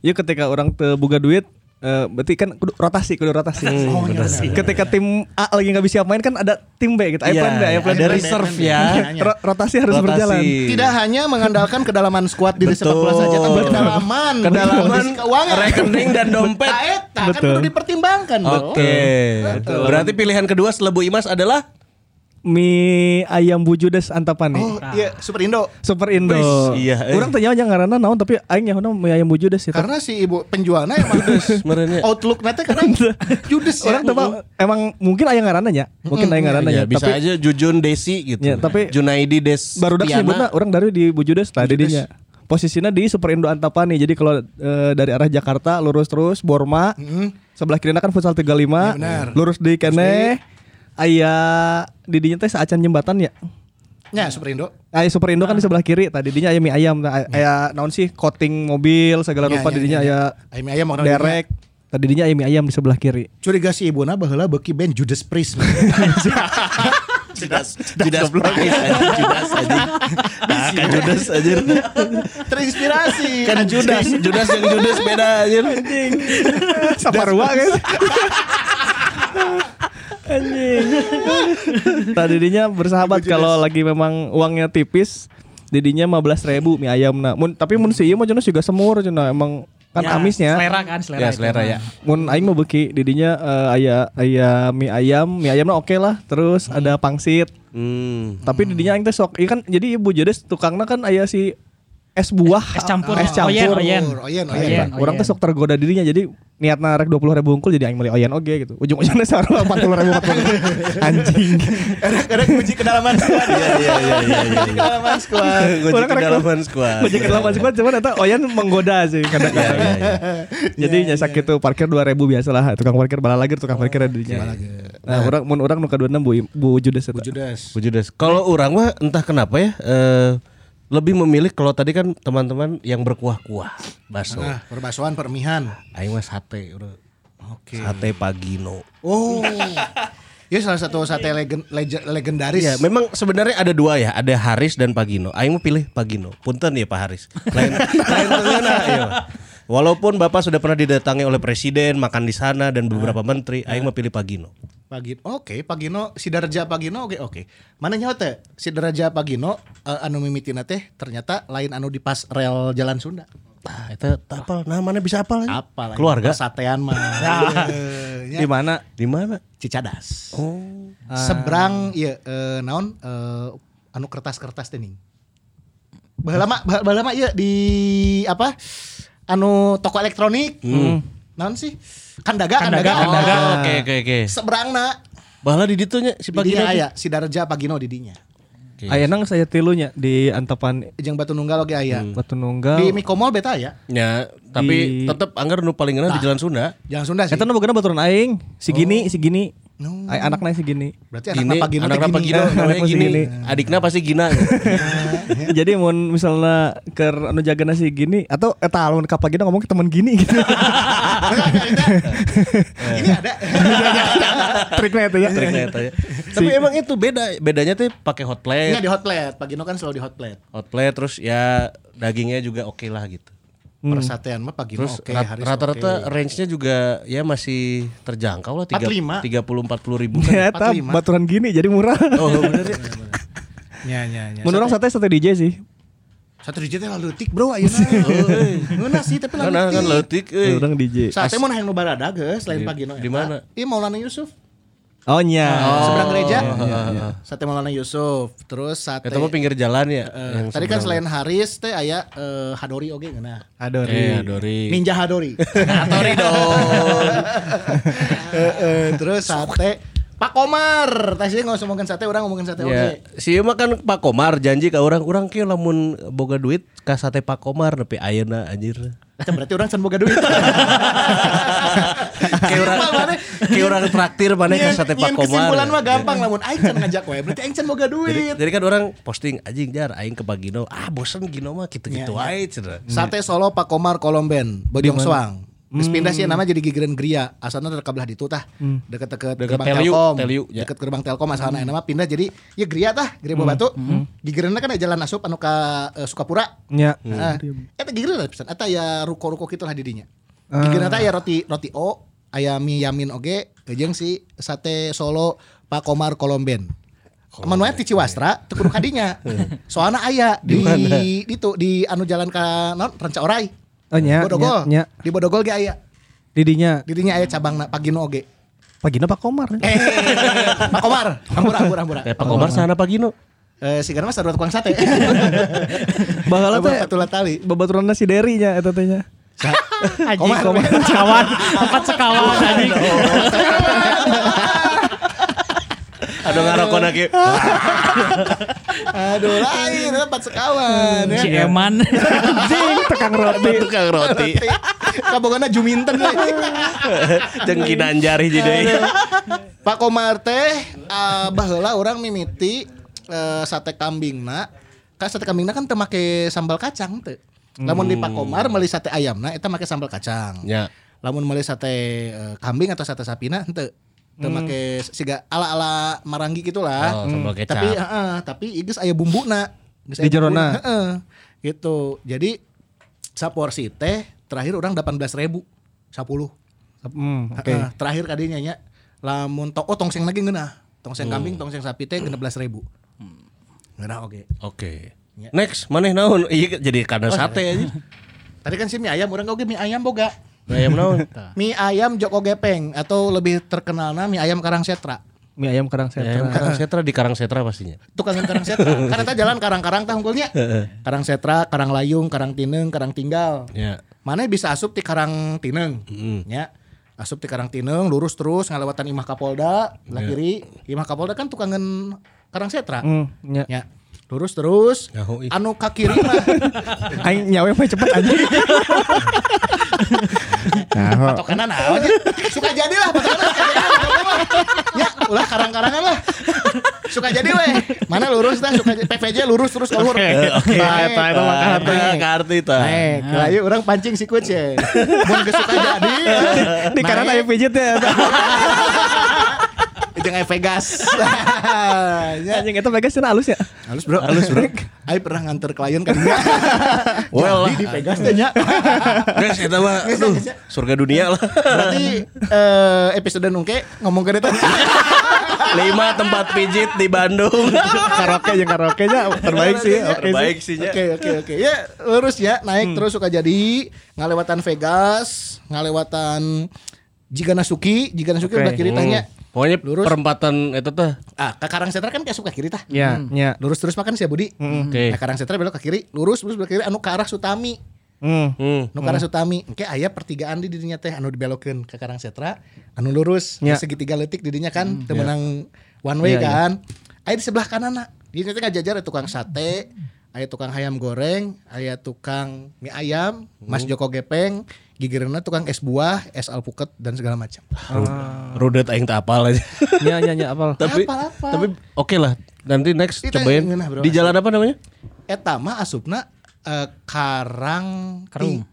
Iya ketika orang teu boga duit eh, berarti kan kudu rotasi kudu rotasi.
Oh, iya, benar.
ketika tim A lagi nggak bisa main kan ada tim B gitu.
Iya,
Iya, plan B,
iya,
plan B. Iya,
ada reserve ya.
Ro- rotasi harus
Rotasi.
berjalan.
Tidak hanya mengandalkan kedalaman skuad diri
Betul.
sepak bola saja, tapi
Betul.
kedalaman,
Kedalaman
kondisi keuangan,
rekening dan dompet.
Nah, eta kan
Betul.
perlu dipertimbangkan, Bro.
Oke. Berarti pilihan kedua setelah Bu Imas adalah
Mie ayam bujudes antapan nih.
Oh, iya, Super Indo.
Super Indo.
Wis, iya, eh.
Orang tanya aja ngaranna naon tapi aing nyaho mie ayam bujudes itu.
Karena si ibu penjualnya emang
merenya.
outlook nanti kadang judes ya.
orang tuh
Mm-mm.
emang mungkin ayah ngaranna ya. Mungkin ayah ngaranna
Ya,
ya.
bisa
Tapi
aja Iya, Jujun Desi gitu.
Ya, tapi-
Junaidi Des.
baru dak
Tiana.
nyebutna orang dari di Bujudes tadi dinya. Posisinya di Super Indo Antapani. Jadi kalau eh, dari arah Jakarta lurus terus Borma. Sebelah kirinya kan futsal 35.
benar.
lurus di kene aya di dinya teh saacan jembatan ya.
Ya, Super Indo.
Aya Super Indo kan di sebelah kiri tadi dinya aya mie ayam Nah, aya- aya naon sih coating mobil segala
Ya,
rupa
ya,
di dinya
ya, ya.
aya
Ayam ayam orang
derek tadi dinya aya mie ayam di sebelah kiri.
Curiga si ibu na baheula beki band Judas Priest.
Judas Judas Price aja Judas aja. Nah, kan Judas aja.
Terinspirasi.
Kan Judas, Judas yang Judas beda aja.
Saparua guys. Anjing. Tadinya bersahabat kalau lagi memang uangnya tipis, didinya 15.000 ribu mie ayam nah. Mun, tapi mun si ieu mah cenah juga semur cenah emang kan
Ya,
amisnya.
Selera kan, selera.
Ya
itu
selera
mah.
ya.
Mun aing mah beuki didinya eh, aya aya mie ayam, mie ayamnya oke lah. Terus ada pangsit.
Hmm.
Tapi didinya aing teh sok ieu kan jadi ibu jedes tukangna kan aya si es buah,
Es campur,
es campur. Oh,
Oyen,
oyen,
iya.
oyen.
oyen,
Oyen.
oyen.
Nah, orang tuh sok tergoda dirinya jadi niatna rek 20 ribu unggul jadi aing meuli oyen oge gitu. Ujung-ujungnya sarua 40 ribu 40 anjing.
Kadang-kadang kunci kedalaman squad.
Iya iya iya iya.
Kunci kedalaman squad.
Gue
Orang
ke
rek-
dalaman squad.
Ujung ke lawan squad cuman eta oyen menggoda sih
Iya
kadang-kadang.
iya iya.
Jadi nya sakit tuh parkir 2000 biasalah tukang parkir bala lagi tukang parkir dirinya. Nah, orang mun orang nu kaduana Bu Im- Bu Judes eta.
Judas.
Bu Judas. Kalau orang mah entah kenapa ya eh, lebih memilih kalau tadi kan teman-teman yang berkuah-kuah baso.
Nah, perbasuhan permihan.
Aing mah sate udah.
Oke.
Sate Pagino.
Oh. Ya salah satu sate legend, legend- legendaris.
Iya, memang sebenarnya ada dua ya, ada Haris dan Pagino. Aing mau pilih Pagino. Punten ya Pak Haris. Lain lain tengena, iya, Pak. Walaupun Bapak sudah pernah didatangi oleh presiden, makan di sana
Nah.
dan beberapa menteri, aing mau pilih Pagino.
Pagi, oke, Pagino, si Daraja Pagino, oke, oke. Mana nyawa teh? Si Daraja Pagino, eh, anu mimitina teh, ternyata lain anu di pas rel Jalan Sunda.
Tah, eta tah apal, nah mana bisa apal aja?
Apa lagi?
Keluarga. Ya.
Satean mah. Iya.
Di mana?
Di mana?
Cicadas. Oh. Seberang iya eh, naon eh, anu kertas-kertas teh ning. Baheula mah bah- baheula mah ieu iya, di apa? Anu toko elektronik. Naon sih? Kandaga, kandaga.
Hmm. Kandaga.
Oh.
Oke oke oke.
Seberangna
Bahala di ditunya si
di
Pagino.
dinya
aja.
aya si Darja Pagino di dinya.
Aya nang saya tilunya di Antapan
jeung batu nunggal oge aya.
Hmm.
Batu Nunggal.
Di Mikomol beta aya.
Ya, tapi
Di-
tetap anggar nu paling enak di Jalan Sunda.
Jangan Sunda sih.
Eta nu bagaimana Eh, baturan aing, si gini, si gini. Ay, anaknya si gini.
Berarti anak
Gini,
Papa Gino
anak
teh
apa
gini.
Gino, namanya
Anak pasti
gini.
gini.
Adiknya pasti Gina.
Jadi mau misalnya ke anu jagana si gini atau eta lamun ka pagi ngomong ke teman gini gitu.
Ah, Ini ada.
Triknya itu ya.
Triknya eta ya. Tapi emang itu beda, bedanya tuh pakai hot
Ini
plate.
di hot plate. Pak Gino kan selalu di hot plate.
Hot plate terus ya dagingnya juga oke lah gitu.
Persatuan mah Pak Gino
Terus
oke,
rat-
Haris
rata-rata range-nya juga ya masih terjangkau lah
45.
30 40 ribu kan.
Ya, Eta baturan gini jadi murah.
Oh bener ya.
oke. Nya nya nya.
Menurut orang sate sate DJ sih.
Satu digit teh leutik, Bro, ayeuna. Ngeuna sih tapi
Kan kan leutik
leutik.
euy.
Menurut Orang DJ.
Sate mah hayang nu barada geus lain ya, Pak Gino.
di
eta.
mana?
Di Maulana Yusuf.
Oh nya.
Seberang gereja.
iya, iya.
Sate Maulana Yusuf, terus sate
Eta mah pinggir jalan ya.
Eh, tadi kan selain Haris teh aya eh, Hadori oge ngeuna.
Adori.
Eh, Dori.
Ninja Hadori. Nah, Hadori dong. Eh, terus sate Pak Komar, tadi sih nggak usah ngomongin sate, orang ngomongin
Ya,
sate oke.
si Ima kan Pak Komar janji ke orang orang kieu lamun boga duit ka sate Pak Komar nepi ayeuna anjir.
Itu berarti orang can boga duit.
Kayak orang kayak orang traktir mana ka sate Pak Komar.
Kesimpulan mah gampang lamun aing can ngajak wae, berarti aing can boga
Jadi,
duit.
jadi kan orang posting anjing jar aing ke Pak Gino. Ah bosen Gino mah gitu-gitu
Iya,
aja cenah.
Hmm. Sate Solo Pak Komar Kolomben, Bojong Soang. Terus pindah sih nama jadi Gigireun Gria, asalnya terkabelah di tah. Deket-deket
Deket
gerbang
Teliu,
Telkom.
Teliu, ya.
Deket gerbang Telkom asalna nama pindah jadi ya Gria tah, Gria Buah Batu. Gigireunna kan ada jalan asup anu ka eh, Sukapura.
Nya.
Iya.
Heeh. Eta gigireun lah pisan. Eta ya ruko-ruko kitu lah di dinya.
Eh.
Gigireun eta ya roti roti O, aya mie yamin oge, jeung si sate Solo Pak Komar Kolomben. Manuel di Ciwastra teu kudu kadinya. Soalna aya di ditu di anu jalan ka naon Ranca Orai.
Oh nya.
Bodogol.
Nya. nya.
Di Bodogol ge aya.
Didinya.
Didinya aya cabangna Pagino oge.
Pagina Pak Komar.
Eh, Pak Komar, ampura ampura ampura.
Kayak Pak Komar sana Pak Gino.
Eh, si Garmas ada tukang sate.
Bahala teh.
Bapak tulat tali.
Babaturanna si Derry nya eta teh nya.
Komar, komar, sekawan, empat sekawan anjing.
Aduh ngarokona kieu.
Aduh, lain tempat sekawan ya.
Si Eman.
Anjing tekang roti.
Tukang roti.
Kabogana Iya. Juminten we.
Jeung Ginanjar hiji deui.
Pak Komar teh ah, baheula orang mimiti eh, sate kambingna. Kan sate kambingna kan teu make sambal kacang teu. Lamun di Pak Komar meuli sate ayamna eta make sambal kacang.
Hmm. Ya.
Lamun meuli sate eh, kambing atau sate sapina henteu. Teu make siga ala-ala maranggi
Hmm.
gitulah. Hmm.
Oh, sambal kecap.
Tapi heeh, tapi igeus aya bumbuna. Geus aya
Di jerona.
bumbuna, Heeh. Gitu. Jadi saporsi teh terakhir orang 18.000. 10.
Hmm, oke.
Heeh, terakhir kadinya nya lamun to oh tongseng lagi ngeunah.
Oh.
Tongseng kambing, tongseng sapi teh 16.000.
Hmm.
Ngeunah oge.
Oke.
Ya.
Next, maneh naon? Iya jadi kandang
Oh,
sate aja.
Tadi kan si mie ayam orang oge mie ayam boga.
Ayam naon?
Mie ayam Joko Gepeng atau lebih terkenalnya mie ayam Karang Setra.
Mie ayam kadang
ya.
Ayam
saya.
karang setra di karang setra pastinya.
Tukang Karang Setra. Karena eta jalan Karang-Karang tah unggulnya. Karang Setra, Karang Layung, Karang Tineng, Karang Tinggal.
Ya. Hmm.
Mana bisa asup di Karang Tineng. Ya. Asup di Karang Tineng lurus terus ngalewatan Imah Kapolda,
Ya.
belah kiri. Imah Kapolda kan tukangan Karang Setra.
Hmm, nya.
Ya. Lurus terus.
Nyaho ih.
Anu ka kiri mah
Aing nyawe mah cepet anjing.
patokanna naon ya? Suka jadilah patokanna. suka jadi lah, pokoknya mah. Ya, ulah karang-karangan lah. Suka jadi weh. Mana lurus tah suka jadi. PVJ lurus terus ke luhur.
Eh,
Oke,
eta eta mah kartu kartu ta.
Naik, layu orang pancing si coach ya. Mun geus suka jadi.
Di kanan aya pijet ya.
Jeung aya Vegas. Ya.
Anjing eta Vegas cenah halus ya.
Halus bro, halus bro. Ayo pernah nganter klien kan?
Well,
Jadi di Vegas teh nya.
guys, eta mah aduh, surga dunia lah.
Berarti eh, episode nungke ngomong ke tadi.
Lima tempat pijit di Bandung.
Karaoke jeung karaoke nya terbaik sih. Oke sih.
Baik sih nya.
Oke oke oke. Ya lurus ya naik terus suka jadi ngalewatan Vegas, ngalewatan Jiganasuki, Jiganasuki
Oke.
udah kiri tanya.
Pokoknya
Lurus.
perempatan eta teh.
Ah, ke Karang Setra kan kayak suka kiri tah.
Ya, ya.
Lurus terus makan sih ya Budi.
Oke.
Nah, Karang Setra belok ke kiri, lurus lurus belok ke kiri anu ke arah Sutami.
Hmm.
Hmm.
Nu ke arah Sutami, engke aya pertigaan di dirinya teh anu dibelokeun ke Karang Setra, anu lurus,
Ya. Hmm.
terus segitiga leutik di dirinya kan, teu menang one way kan. Aya di sebelah kanan Di sini teh ngajajar ada tukang sate, aya tukang ayam goreng, aya tukang mie ayam,
Hmm.
Mas Joko Gepeng, gigireunna tukang es buah, es alpukat dan segala macam.
Ah. Rudet aing tak apal aja.
Nya nya nya apal.
tapi
Apal-apal.
tapi oke lah. Nanti next
Kita
cobain
ingin lah, bro.
di jalan apa namanya?
Eta mah asupna eh, karang
Karung.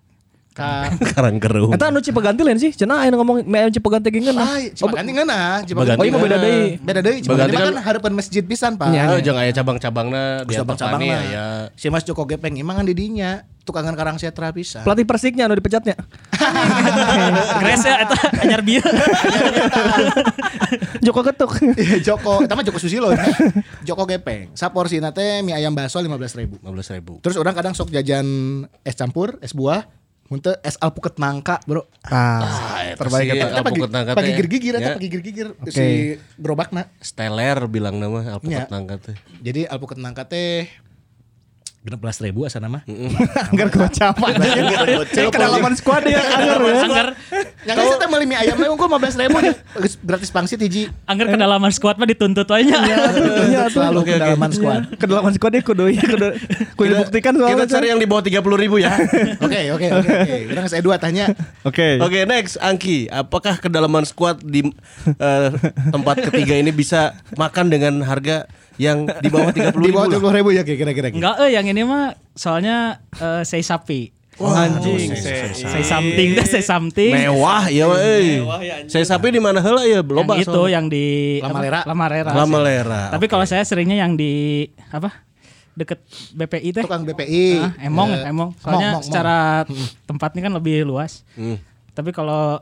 Ka
Karangkeruh.
Eta anu Cipaganti lain sih, cenah aya ngomong mie ayam Cipaganti geungeun lah.
Ay, Cimaganti ngeunah, Cimaganti
Baganti
Oh, iya mah beda
ngeunah.
deui. Iya,
Beda deui, Cimaganti
Baganti
mah kan
kan-
harapan masjid pisan, Pak.
Oh, jangan aya cabang-cabangna di
cabang
cabang
cabangnya
ya.
Si Mas Joko Gepeng emang kan didinya tukangan karang setra pisan.
Pelatih Persiknya anu dipecatnya.
Grace ya eta anyar bieu.
Joko Ketuk.
Iya Joko, sama Joko Susilo. ya. Joko Gepeng. Saporsina teh mie ayam bakso 15.000.
15 ribu.
Terus orang kadang sok jajan es campur, es buah, muntah es alpukat mangka, Bro.
Ah, terbaik
Eta pagi pagi gigir-gigir eta pagi gigir-gigir si gerobakna.
Ya, Steller bilang nama
Ya.
alpukat nangka teh.
Jadi alpukat mangka teh 16.000 asa nama.
Ya, Anggar gocapan.
Iya,
Cek kedalaman
squad ya anggar ya.
Angger
Yang geus teh meuli mie ayam mah unggul 15.000 nya. Geus gratis pangsit hiji.
angger kedalaman squad mah dituntut wae nya.
Iya. Selalu
Oke, oke.
kedalaman squad.
Iya. Kedalaman squad ya kudu ieu kudu kudu dibuktikan soalnya.
Kita cari yang di bawah 30 ribu ya.
Oke, oke, oke. oke. Urang saya dua tanya.
Oke.
Oke next Angki, apakah kedalaman squad di eh, tempat ketiga ini bisa makan dengan harga yang di bawah 30 ribu?
Di bawah
lah?
30.000 ya Ki, kira-kira. Ki?
Enggak eh yang ini mah soalnya eh, say sapi.
anjing.
Say something dah say something.
Mewah ya weh. Saya sapi di mana heula ya
Yang
loba
itu yang di
Lama
apa?
Lera.
Lamarera.
Lama Lera,
Tapi kalau saya seringnya yang di apa? deket BPI teh.
Tukang BPI.
Ah, emong,
Eh,
emong. Soalnya
mong, mong,
secara
Hmm.
tempatnya kan lebih luas. Tapi kalau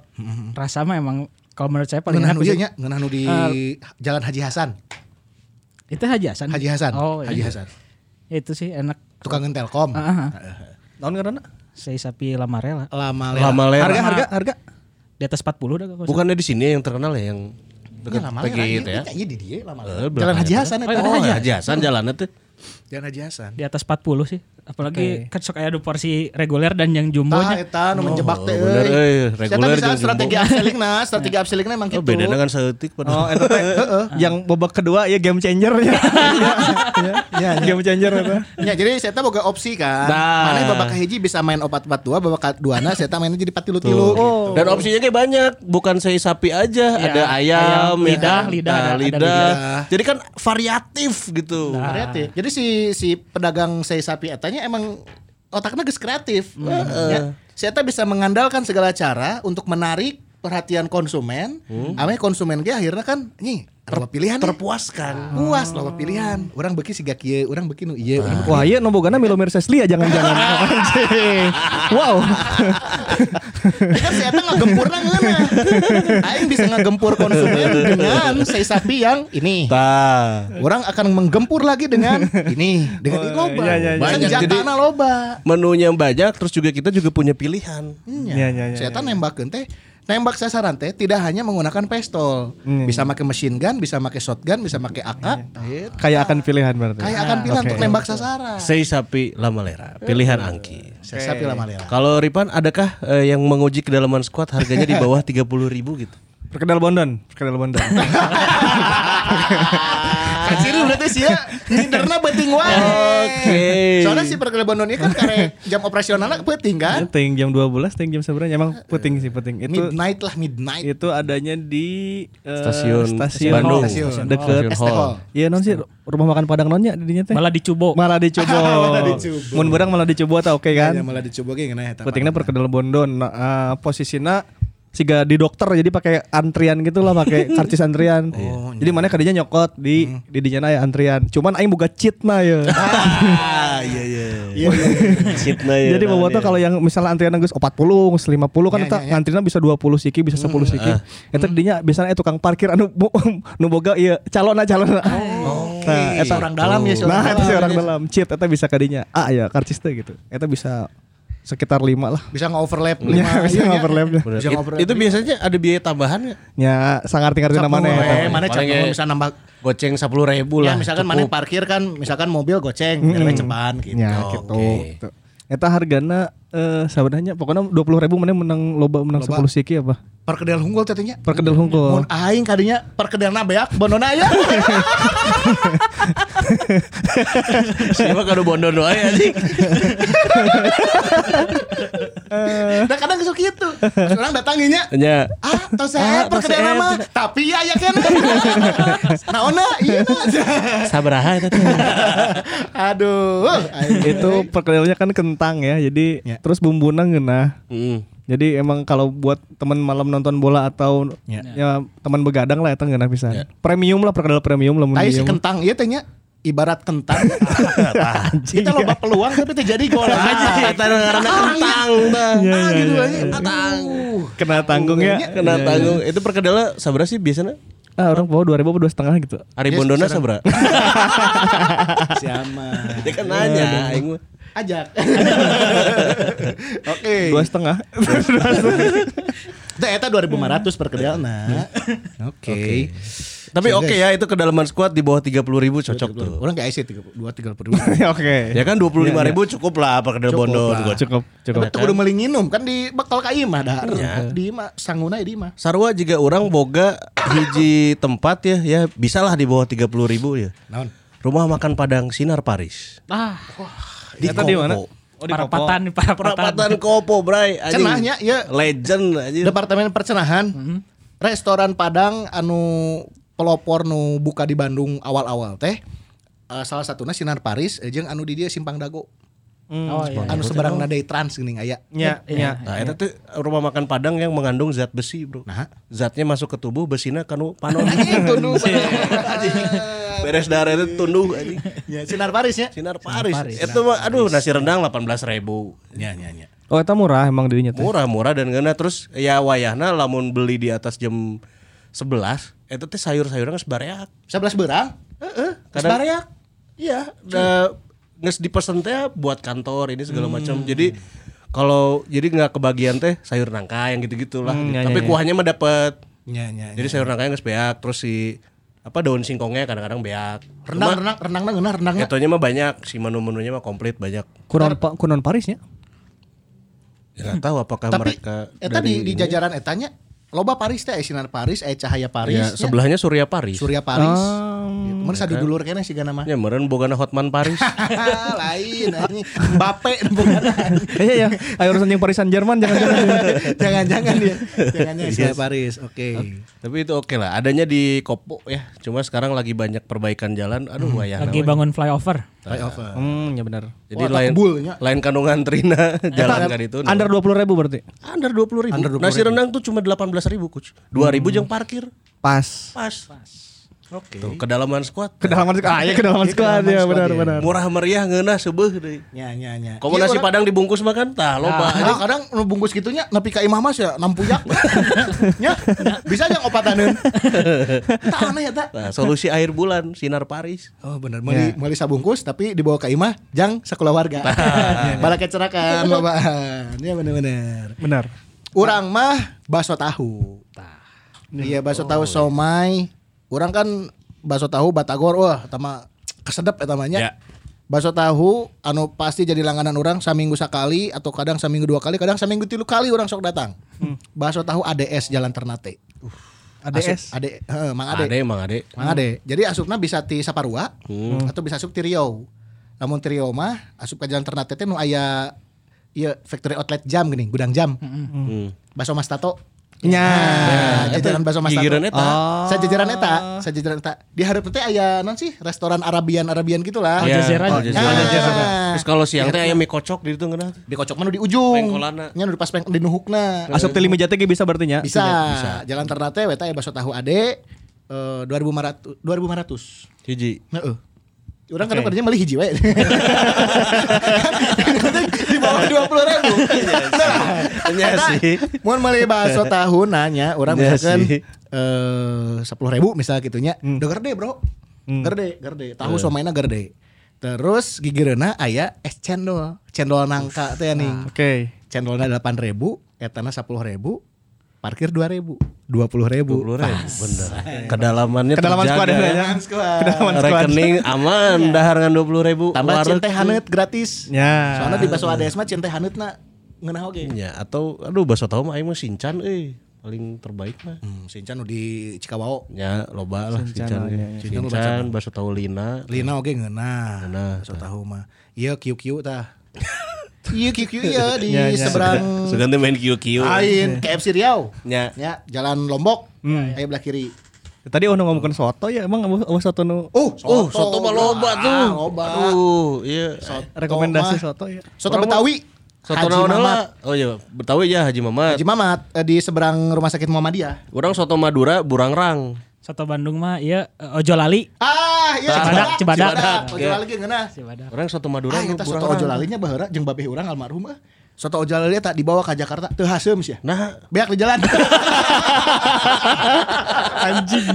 rasa mah emang kalau menurut saya paling
Ngeunah
enak
nu
itu,
ieu nya, ngeunah nu di
Ah.
Jalan Haji Hasan.
itu Haji Hasan.
Haji Hasan.
Oh, iya. Ya,
Haji Hasan.
Itu sih enak.
Tukang Telkom.
Ah, ah, ah.
Naon ngaranna?
Sei sapi lamarela.
Lama Lela.
Lama Lera.
Harga harga harga.
Di atas 40 dah kalau
Bukannya di sini yang terkenal ya yang dekat
Lama Lela.
PGI itu
Iya,
ya?
Iya di dia Lama Lela.
Eh, belakang
Jalan Haji
itu.
Hasan
Oh,
eta.
Haji Haji Hasan jalannya tuh. Oh,
Jalan Haji Hasan.
di atas 40 sih. Apalagi kan sok aya ada porsi reguler dan yang jumbo
Tah
nya.
Ah, eta nu menjebak teh
Oh, bener, euy.
euy. Eta
Reguler
bisa
jeung jumbo.
strategi upsellingna, strategi upsellingna emang gitu.
Oh,
kitu.
beda dengan seutik pada.
Oh, eta teh heeh. yang babak kedua ya game changer ya. Ya, game changer apa?
Ya jadi saya boga opsi kan.
Nah.
Mana babak hiji bisa main opat-opat dua, babak duana saya mainnya jadi patilu-tilu. gitu.
Oh, Dan opsinya kayak banyak, bukan sei sapi aja, ada ayam,
ayam,
ya
lidah,
kan?
lidah,
Nah,
ada- ada
lidah.
lidah. Nah,
Jadi kan variatif gitu.
kreatif. Jadi si si pedagang saya sapi etanya emang otaknya geus kreatif. Ya. Si eta bisa mengandalkan segala cara untuk menarik perhatian konsumen. Ame konsumen ge akhirnya kan nih loba pilihan.
Terpuaskan.
Puas loba pilihan. Orang beki siga kieu, urang beki nu ieu. urang beki-
Wah, iya nombogana Milomir Sesli ya jangan-jangan. Anjing. wow.
Ya kan si eta ngegempurna ngeunah. Aing bisa ngegempur konsumen dengan saya sapi yang ini.
Tah.
Orang akan menggempur lagi dengan ini, dengan ini loba.
iya, iya, iya.
Banyak, jadi-
Senjatana loba.
Menunya banyak, terus juga kita juga punya pilihan.
Iya,
Ya,
iya, iya,
Setan nembakeun teh nembak sasaran teh tidak hanya menggunakan pistol.
Hmm.
Bisa pakai machine gun, bisa pakai shotgun, bisa pakai AK.
Iya.
Gitu.
Kayak akan pilihan berarti.
Kayak akan pilihan untuk nembak sasaran. ya,
Sei sapi lama lera, pilihan Angki.
Saya sapi lama lela.
Kalau Ripan, adakah eh, yang menguji kedalaman squad harganya di bawah 30 ribu gitu?
Perkedel Bondon, perkedel Bondon. Kan
Kaciri berarti sih ya hinderna penting wae.
Oke.
Soalnya si perkele Bondon ieu kan karek jam operasionalnya penting kan.
Ting jam 12, ting jam seberapa? Emang puting sih puting. Itu Iya,
Midnight lah midnight.
itu adanya di eh,
Stasiun,
stasiun
Bandung,
Stasiun.
deket
Stasiun
ST Hall.
Hall.
Iya non sih rumah makan Padang nonnya didinya teh.
Malah dicubo.
Malah dicoba.
Malah dicoba.
Mun berang malah dicoba tah oke kan.
Ya, malah dicoba ge ngeunah eta.
Pentingnya perkedel Bondon. Nah, eh, posisinya siga di dokter jadi pakai antrian gitu lah pakai karcis antrian. jadi mana kadinya nyokot di di dinya aya antrian. Cuman aing boga cheat mah ya.
Ah, iya iya.
Iya, iya,
Cheatnya ya.
Jadi bawa kalau yang misalnya antrian geus 40, geus 50 kan
Ya,
eta
ya, ya.
antrianna bisa 20 siki, bisa 10 siki. Eta dinya biasanya eh, tukang parkir anu bo- nu boga ieu calona-calona. Oh. Nah, eta
Seorang dalam ya, seorang
Nah, eta
dalam.
seorang dalam cheat eta bisa kadinya. Ah ya, karcis teh gitu. Eta bisa sekitar 5 lah.
Bisa nge-overlap
Ya,
lima,
bisa
iya, iya.
overlapnya.
Bener.
Bisa
It-
ngobrol.
itu biasanya ada biaya tambahan nggak?
Ya, sangar arti
Sapu,
mana
eh,
ya.
mana
Paling
cak
ya.
bisa nambah
Goceng sepuluh ribu lah.
Ya misalkan mana parkir kan misalkan mobil goceng, mm ceban gitu.
Ya, gitu. Gitu. Eta hargana eh sabaranya pokoknya 20.000 mana menang loba menang 10 siki apa?
perkedel hunggul tadinya
Perkedel hungkul.
Mun aing kadinya perkedel nabeak bonona ya. aya.
Siapa kalau bondon doa ya sih?
Da Nah, kadang geus kitu. Terus Orang datanginya
Nya.
Ah, tos
Ah,
saya
tos
perkedel
saya.
nama. Tapi ya ya kan. Naona iya.
Sabaraha itu
Aduh. aing.
Itu perkedelnya kan kentang ya. Jadi
Ya.
terus bumbuna ngeunah. Jadi emang kalau buat teman malam nonton bola atau ya, teman begadang lah eta ngeunah pisan.
Ya.
Premium lah perkedel premium lah mun
Tapi si
dieu mah.
kentang ieu teh nya ibarat kentang. Kita loba peluang tapi teh jadi gol aja.
Kata karena kentang Bang.
Ah gitu
iya.
aja. Aduh.
kena tanggung ya.
Kena tanggung. Itu perkedela sabra sih biasanya?
Ah, orang bawa 2000 apa 2,5 gitu.
Ari bondona sabra.
Siapa?
Dia kan nanya aing mah.
Ajak. Oke.
Dua setengah.
Itu eta 2500 per kedelna. Oke.
Tapi
Iya,
oke ya itu kedalaman squad di bawah 30 ribu cocok tuh.
Orang kayak IC 32 30
Oke.
Ya kan 25 ribu cukup lah perkedel
Iya, Cukup
bondon.
lah.
Gua cek-
Cukup, cukup.
Tapi tuh udah meli nginum kan di bekal ka imah dah. Di imah sangguna di imah.
Sarwa jika orang boga hiji tempat ya, ya bisalah di bawah 30 ribu ya.
Naon?
Rumah makan Padang Sinar Paris.
Ah,
Di
Eta di mana?
Kopo.
Oh, di Kopo.
parapatan nih, parapatan.
Perapatan Kopo, Bray. Anjing.
Cenahnya, ya.
Legend anjing.
Departemen Percenahan. Restoran Padang anu pelopor nu buka di Bandung awal-awal teh. eh, salah satunya Sinar Paris eh, jeung anu di dia Simpang Dago.
Oh iya.
anu seberang nadai trans geuning aya.
Nya, nya.
Nah, itu tuh rumah makan Padang yang mengandung zat besi, Bro.
Nah.
Zatnya masuk ke tubuh, besinya kanu panon.
Anu, Itu nu.
Beres darah itu tunduh anjing.
Ya, Sinar Paris ya.
Sinar Paris. Itu mah aduh nasi rendang 18.000.
Ya, ya, ya.
Oh, eta murah emang dirinya teh.
Murah-murah dan ngena terus ya wayahna lamun beli di atas jam 11 itu teh sayur-sayuran geus bareak.
11 berang? Heeh.
Kadang-
Sebareak.
Iya, da nges dipesen teh buat kantor ini segala
Hmm.
macam. Jadi kalau jadi nggak kebagian teh sayur nangka yang gitu-gitu lah.
Hmm, ya,
Tapi
ya, ya.
kuahnya mah dapet.
Ya, ya.
Jadi sayur nangkanya nges beak terus si apa daun singkongnya kadang-kadang beak.
Renang, renang, renang, renang, renang.
Etonya mah banyak, si menu-menunya mah komplit banyak.
Kunaon pa- kunaon Parisnya?
Ya, gak tahu apakah
Hmm. Tapi eh,
mereka
eta
dari
di, di
ini.
jajaran etanya loba Paris teh eh, Sinar Paris, eh Cahaya Paris,
ya, Oh,
nya.
sebelahnya Surya Paris.
Surya Paris. Gitu. Mun sadu dulur keneh siga nama.
Ya meren bogana Hotman Paris.
Lain anjing. Mbappe bukan.
Iya, ya. Ayo urusan yang Parisan Jerman jangan-jangan.
Jangan-jangan dia.
Iya,
Jangan-jangan Sinar Paris. Oke.
Tapi itu oke lah, adanya di Kopo ya. Cuma sekarang lagi banyak perbaikan jalan. Aduh, wayahna
Lagi
we.
bangun flyover.
Flyover.
Hmm, ya benar.
Jadi
Wah, tak
lain
kebulnya.
lain kandungan Trina jalan kan itu.
Under 20 ribu berarti.
under 20 ribu. Nasi rendang tuh cuma 18 ribu, Coach. 2 ribu jeung parkir.
Pas.
Pas. iya. Oke. Tuh, kedalaman squad.
Kedalaman squad. Ah, ya kedalaman squad ya benar-benar.
Murah meriah ngeunah seubeuh deui.
Nya nya nya.
Komo nasi Padang dibungkus makan tah loba.
Kadang kadang nu bungkus gitunya nepi ka imah mas ya nampuyak. Nya bisa aja ngopataneun. Tah aneh eta.
Nah, solusi air bulan sinar Paris.
Oh benar, meli meli sabungkus tapi dibawa ke imah jang sakeluarga. Bala kecerakan babaan. Ya benar-benar.
Benar.
Urang mah bakso tahu. Iya bakso tahu somai. Urang kan bakso tahu Batagor wah tama kesedep eta mah nya.
Ya.
Bakso tahu anu pasti jadi langganan orang saminggu sekali atau kadang saminggu dua kali, kadang saminggu tilu kali orang sok datang. Bakso tahu ADS Jalan Ternate.
ADS.
Ade, heeh, Mang Ade.
Ade, Mang Ade.
Mang Ade. Jadi asupna bisa ti Saparua
Hmm.
atau bisa asup ti Riau. Namun ti Riau mah asup ke Jalan Ternate teh nu aya ieu factory outlet jam gini, gudang jam.
Hmm. Ya.
Baso Mas Tato.
Nya.
Nah, jajaran
Eta
bakso Mas Tato.
gigiran eta.
Oh.
Sajajaran eta, sajajaran eta. Di hareup teh aya non sih restoran Arabian-Arabian gitulah.
Ya,
jajaran.
oh, jajaran.
Ah.
Jajaran. Terus kalau siang teh ayam mie kocok di itu ngeunah.
Dikocok mah nu di ujung.
Pengkolana.
Nya nu di pas peng di nuhukna.
Asup teh lima jatnya ge bisa berarti nya.
Bisa. Jalan Ternate eta aya baso tahu Ade eh, 2500 2500.
Hiji.
Heeh. Orang kadang kadang beli hiji wae. Kan di bawah dua puluh ribu.
Iya sih.
Mau beli ya, bakso tahu nanya, orang
Iya
misalkan eh,
sih.
sepuluh ribu misal gitunya, udah gerde bro, gerde gerde, tahu somainya gerde. Terus gigireuna aya es cendol, cendol nangka teh nih.
Oke.
Cendolnya delapan ribu, etana sepuluh ribu, parkir dua ribu, dua puluh ribu.
bener.
Iya.
Kedalamannya
Kedalaman squad
terjaga.
ya. Kedalaman squad.
Rekening aman, dahar ngan 20 ribu.
Tambah cinta hanet gratis.
Ya.
Hmm. Iya,
Soalnya di bakso ADS mah cinta haneutna ngeunah oge.
Ya, atau aduh bakso tahu mah aing mah sincan euy. paling terbaik mah.
Hmm, Sincan udah di Cikawao.
Ya loba lah
Sincan
Sincan.
lah,
ge.
ya, ya.
Sincan, baso tahu Lina.
Lina oke ngeunah.
Ngeunah,
So tahu mah. Iya QQ tah. Iya QQ ya di
Ya, ya.
seberang
Sugan teh main kiu-kiu.
lain KFC Riau.
Ya.
Ya, jalan Lombok. Ayo belah kiri.
Tadi ono ngomongin soto ya, emang awas awas soto nu
Oh,
Oh, soto mah loba tuh.
Ah, Loba.
Aduh, iya.
rekomendasi
soto. mah.
soto ya.
Soto Betawi.
Soto
Haji
naon
Mamat.
lah. Oh iya, Betawi ya Haji Mamat.
Haji Mamat eh, di seberang Rumah Sakit Muhammadiyah.
Orang soto Madura burangrang.
Soto Bandung mah iya eh, ojo lali.
Ah, iya
Cibadak, Cibadak.
Ojo lali ge ngeunah.
Si badak.
Orang soto Madura
Ah,
nu
eta soto ojo lalinya baheura jeung babeh urang almarhum eh. Soto ojo lali tak dibawa ke Jakarta teu haseum sia.
Nah,
Beak di jalan.
Anjing.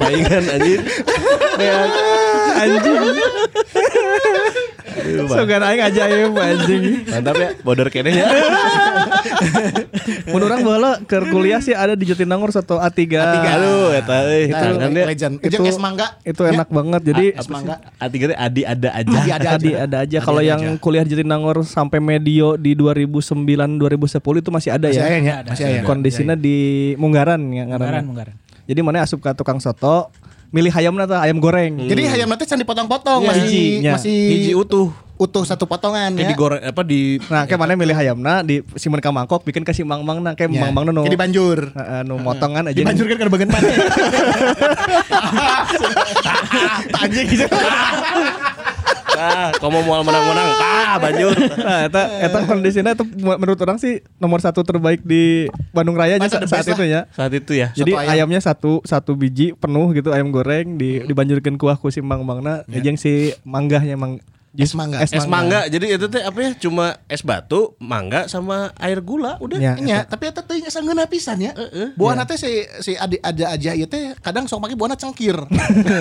baingan anjir. Kayak
Anjing. Sogan aing ajaib anjing.
mantap ya border kene ya.
Mun urang baheula ke kuliah sih ada di Jatinangor soto A3.
A3. Aduh, eta euy.
Nah,
Kan dia-
legend. Jeung es mangga. Ya. Ah,
Itu enak banget. Jadi
Es mangga.
A3 teh Adi ada aja.
Adi ada
Adi
aja.
ada aja. Kalau
ada
yang
aja.
kuliah di Jatinangor sampai medio di 2009 2010 itu masih ada
Masih
ya.
aya nya, masih aya.
Kondisinya di Munggaran ya ngaranna.
Munggaran, Munggaran.
Jadi mana asup ke tukang soto, milih ayamna tah ayam goreng.
Hmm. Jadi hayam nanti can dipotong-potong
Hmm. Iya,
masih
hijinya.
masih
Hiji utuh.
utuh satu potongan
Kayak
ya.
digoreng apa Eh, di
Nah, kayak mana milih ayamna di simpen ka mangkok bikin kasih mang-mang nah kayak
Ya.
mang-mang nu
Kayak dibanjur.
Heeh, nu motongan aja.
Dibanjur kan karena bagian mana? Anjing gitu.
ah, kamu mau menang-menang. Ah, banjur.
Nah, eta eta kondisinya itu menurut orang sih nomor satu terbaik di Bandung Raya aja
Masa
sa-
the
saat
best
itu ya.
Saat itu ya.
Jadi
ayam.
ayamnya satu satu biji penuh gitu ayam goreng di dibanjurkan kuah ku si mang mangna jeung si manggahnya mang
Es mangga.
es
Es mangga. Jadi itu teh apa ya? Cuma es batu, mangga sama air gula udah.
Ya.
Eh,
Eh,
Nya, tapi eta teh nya sangeuna pisan ya. Buahna teh si si adi ada aja ieu teh kadang sok make buahna cengkir.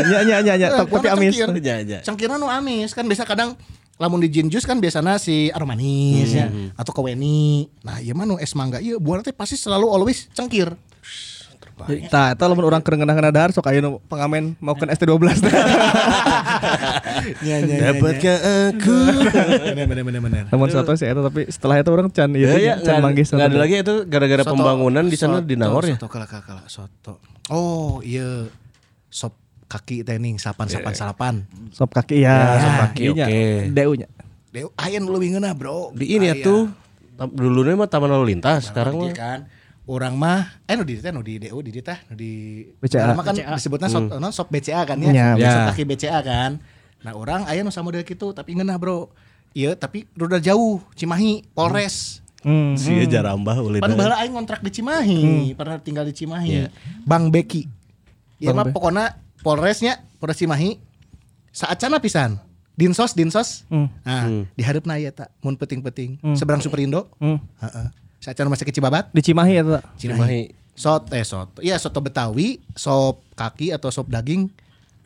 ya ya ya
Eh,
ya tapi tapi
buahna
amis.
cengkir.
Ya, ya.
Cengkirna nu amis kan biasa kadang lamun di gin juice kan biasana si aroma manis
Hmm.
ya atau kaweni. Nah, ieu mah nu es mangga ieu buahna teh pasti selalu always cengkir.
Tah eta lamun urang keur ngeunah-ngeunah dahar sok aya nu pengamen maukeun ST12.
Nya nya.
Dapatkah aku?
ya, Bener bener bener bener.
Lamun soto sih eta tapi setelah itu orang can
Ya,
ieu
ya,
can
nggak-
manggis
nggak ada lagi itu gara-gara
Soto-
pembangunan di sana di
soto-
Nangor ya.
Soto kala kala kala, soto. Oh, iya. Sop kaki teh ning
Iya,
sapan-sapan salapan.
sop kaki ya,
sop
sop
kaki,
kaki nya.
oke.
DU nya.
Deu ayeuna leuwih ngeunah, nah, Bro.
Di ini ya
Aya.
tuh tam- dulunya mah taman lalu lintas, sekarang
Iya
mah
kan. Orang mah eh nu di teh nu di DU di dieu teh nu di
BCA.
Orang mah kan disebutnya sop
Hmm.
non sop BCA kan ya.
Iya,
Sop
iya.
kaki BCA kan. Nah, orang aya nu sama model kitu tapi ngeunah, Bro. Iya, tapi rada jauh Cimahi, Polres.
Hmm.
si jarambah ulin.
Pan bala aing kontrak di Cimahi, pernah tinggal di Cimahi. Bang Beki. Ya
Iya. Bang
mah
Be-
pokoknya Polresnya, Polres Cimahi saacana pisan. Dinsos, dinsos.
Hmm.
Nah, diharapna ieu tak mun peting-peting. Seberang Superindo.
Hmm.
Heeh. Saacana masih ke Cibabat,
Di Cimahi eta.
Cimahi.
Sot eh soto. Iya, soto Betawi, sop kaki atau sop daging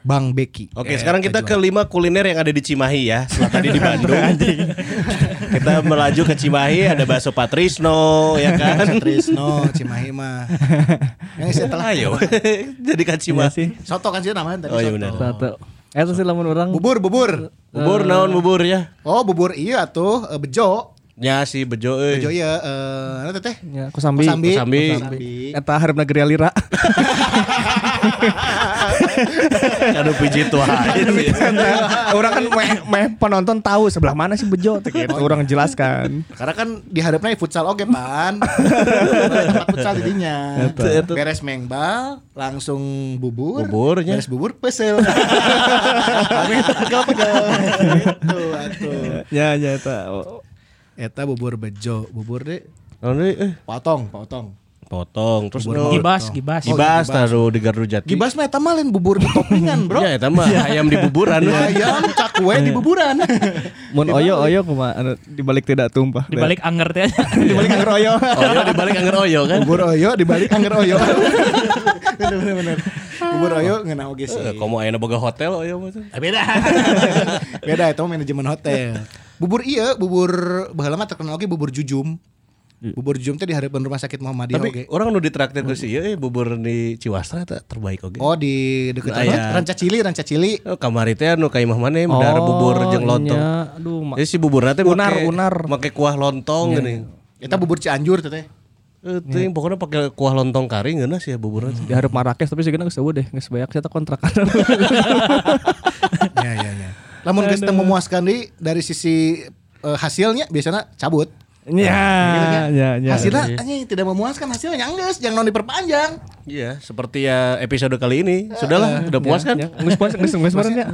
Bang Beki.
Oke,
Eh,
sekarang kita ke
jual.
lima kuliner yang ada di Cimahi ya. Setelah tadi di Bandung, kita melaju ke Cimahi ada bakso Patrisno ya kan.
Trisno Cimahi mah. Yang setelah
Ayo, jadi ke
Iya
Cimahi.
sih.
soto kan sih namanya
Ah,
tadi.
iya. Oh, iya benar.
soto.
Satu. Eta sih lamun orang
Bubur, bubur.
Bubur naon bubur ya?
Oh bubur iya tuh eh, bejo.
Ya si Bejo euy.
Bejo iya eh anu teh teh.
Ya, Kosambi.
Kosambi.
Kosambi.
Kosambi.
Eta hareup negeri Alira.
Aduh pijit
Iya,
wae.
orang kan meh, meh penonton tahu sebelah mana sih bejo teh gitu. Orang jelaskan.
Karena kan diharapnya futsal oke pan. Tempat futsal jadinya.
Eta.
Beres mengbal, langsung bubur.
Buburnya.
Beres bubur pesel. Kami pegel pegel. Gitu atuh.
Ya ya eta. Oh.
Eta bubur bejo, bubur deh
Naon euy, eh
potong, potong.
potong terus naon?
Gibas, gibas.
Gibas taruh di Gardu Jati.
Oh, Gibas mah eta mah lain bubur di toppingan, Bro. Iya.
Ya eta mah ayam di buburan.
Ayam cakwe di buburan.
Mun oyo oyo kumaha anu dibalik tidak tumpah.
Di balik anger teh.
dibalik angger oyo.
Oyo dibalik anger oyo kan.
Bubur oyo dibalik anger oyo. bener bener bener. Bubur oyo ngena oge sih.
Eh, Ah, Komo aya boga hotel oyo mah.
Eh, Beda. ya, Beda itu mah manajemen hotel. Bubur iya, bubur baheula mah terkenal oge bubur jujum. Bubur jum teh di harapan rumah sakit Muhammadiyah
Hmm. Tapi
oge.
orang nu ditraktir ke si eh bubur di Ciwastra eta terbaik oge.
Oh di dekat
Nah, ya.
Ranca Cili, Ranca Cili.
Oh, kamari teh anu ka imah maneh medar bubur jeung lontong.
nya. Oh, iya. Aduh, ma-
Jadi si buburna teh
Unar,
make-
unar. Iya.
make kuah lontong gini.
Kita bubur Cianjur
Eh,
teh.
teuing pokoknya pakai kuah lontong kari geuna sih ya buburna teh.
di hareup Marrakesh tapi segenna geus eueuh deh, geus banyak saya kontrak.
ya ya ya. Lamun geus teu memuaskan di dari sisi eh, hasilnya biasanya cabut.
Nya,
Ah,
nya,
iya,
nya.
hasilnya anjing, tidak memuaskan hasilnya enggak, jangan non diperpanjang.
Iya, seperti ya episode kali ini. Sudahlah, udah puas kan?
Ya, Geus puas, geus geus meren ya.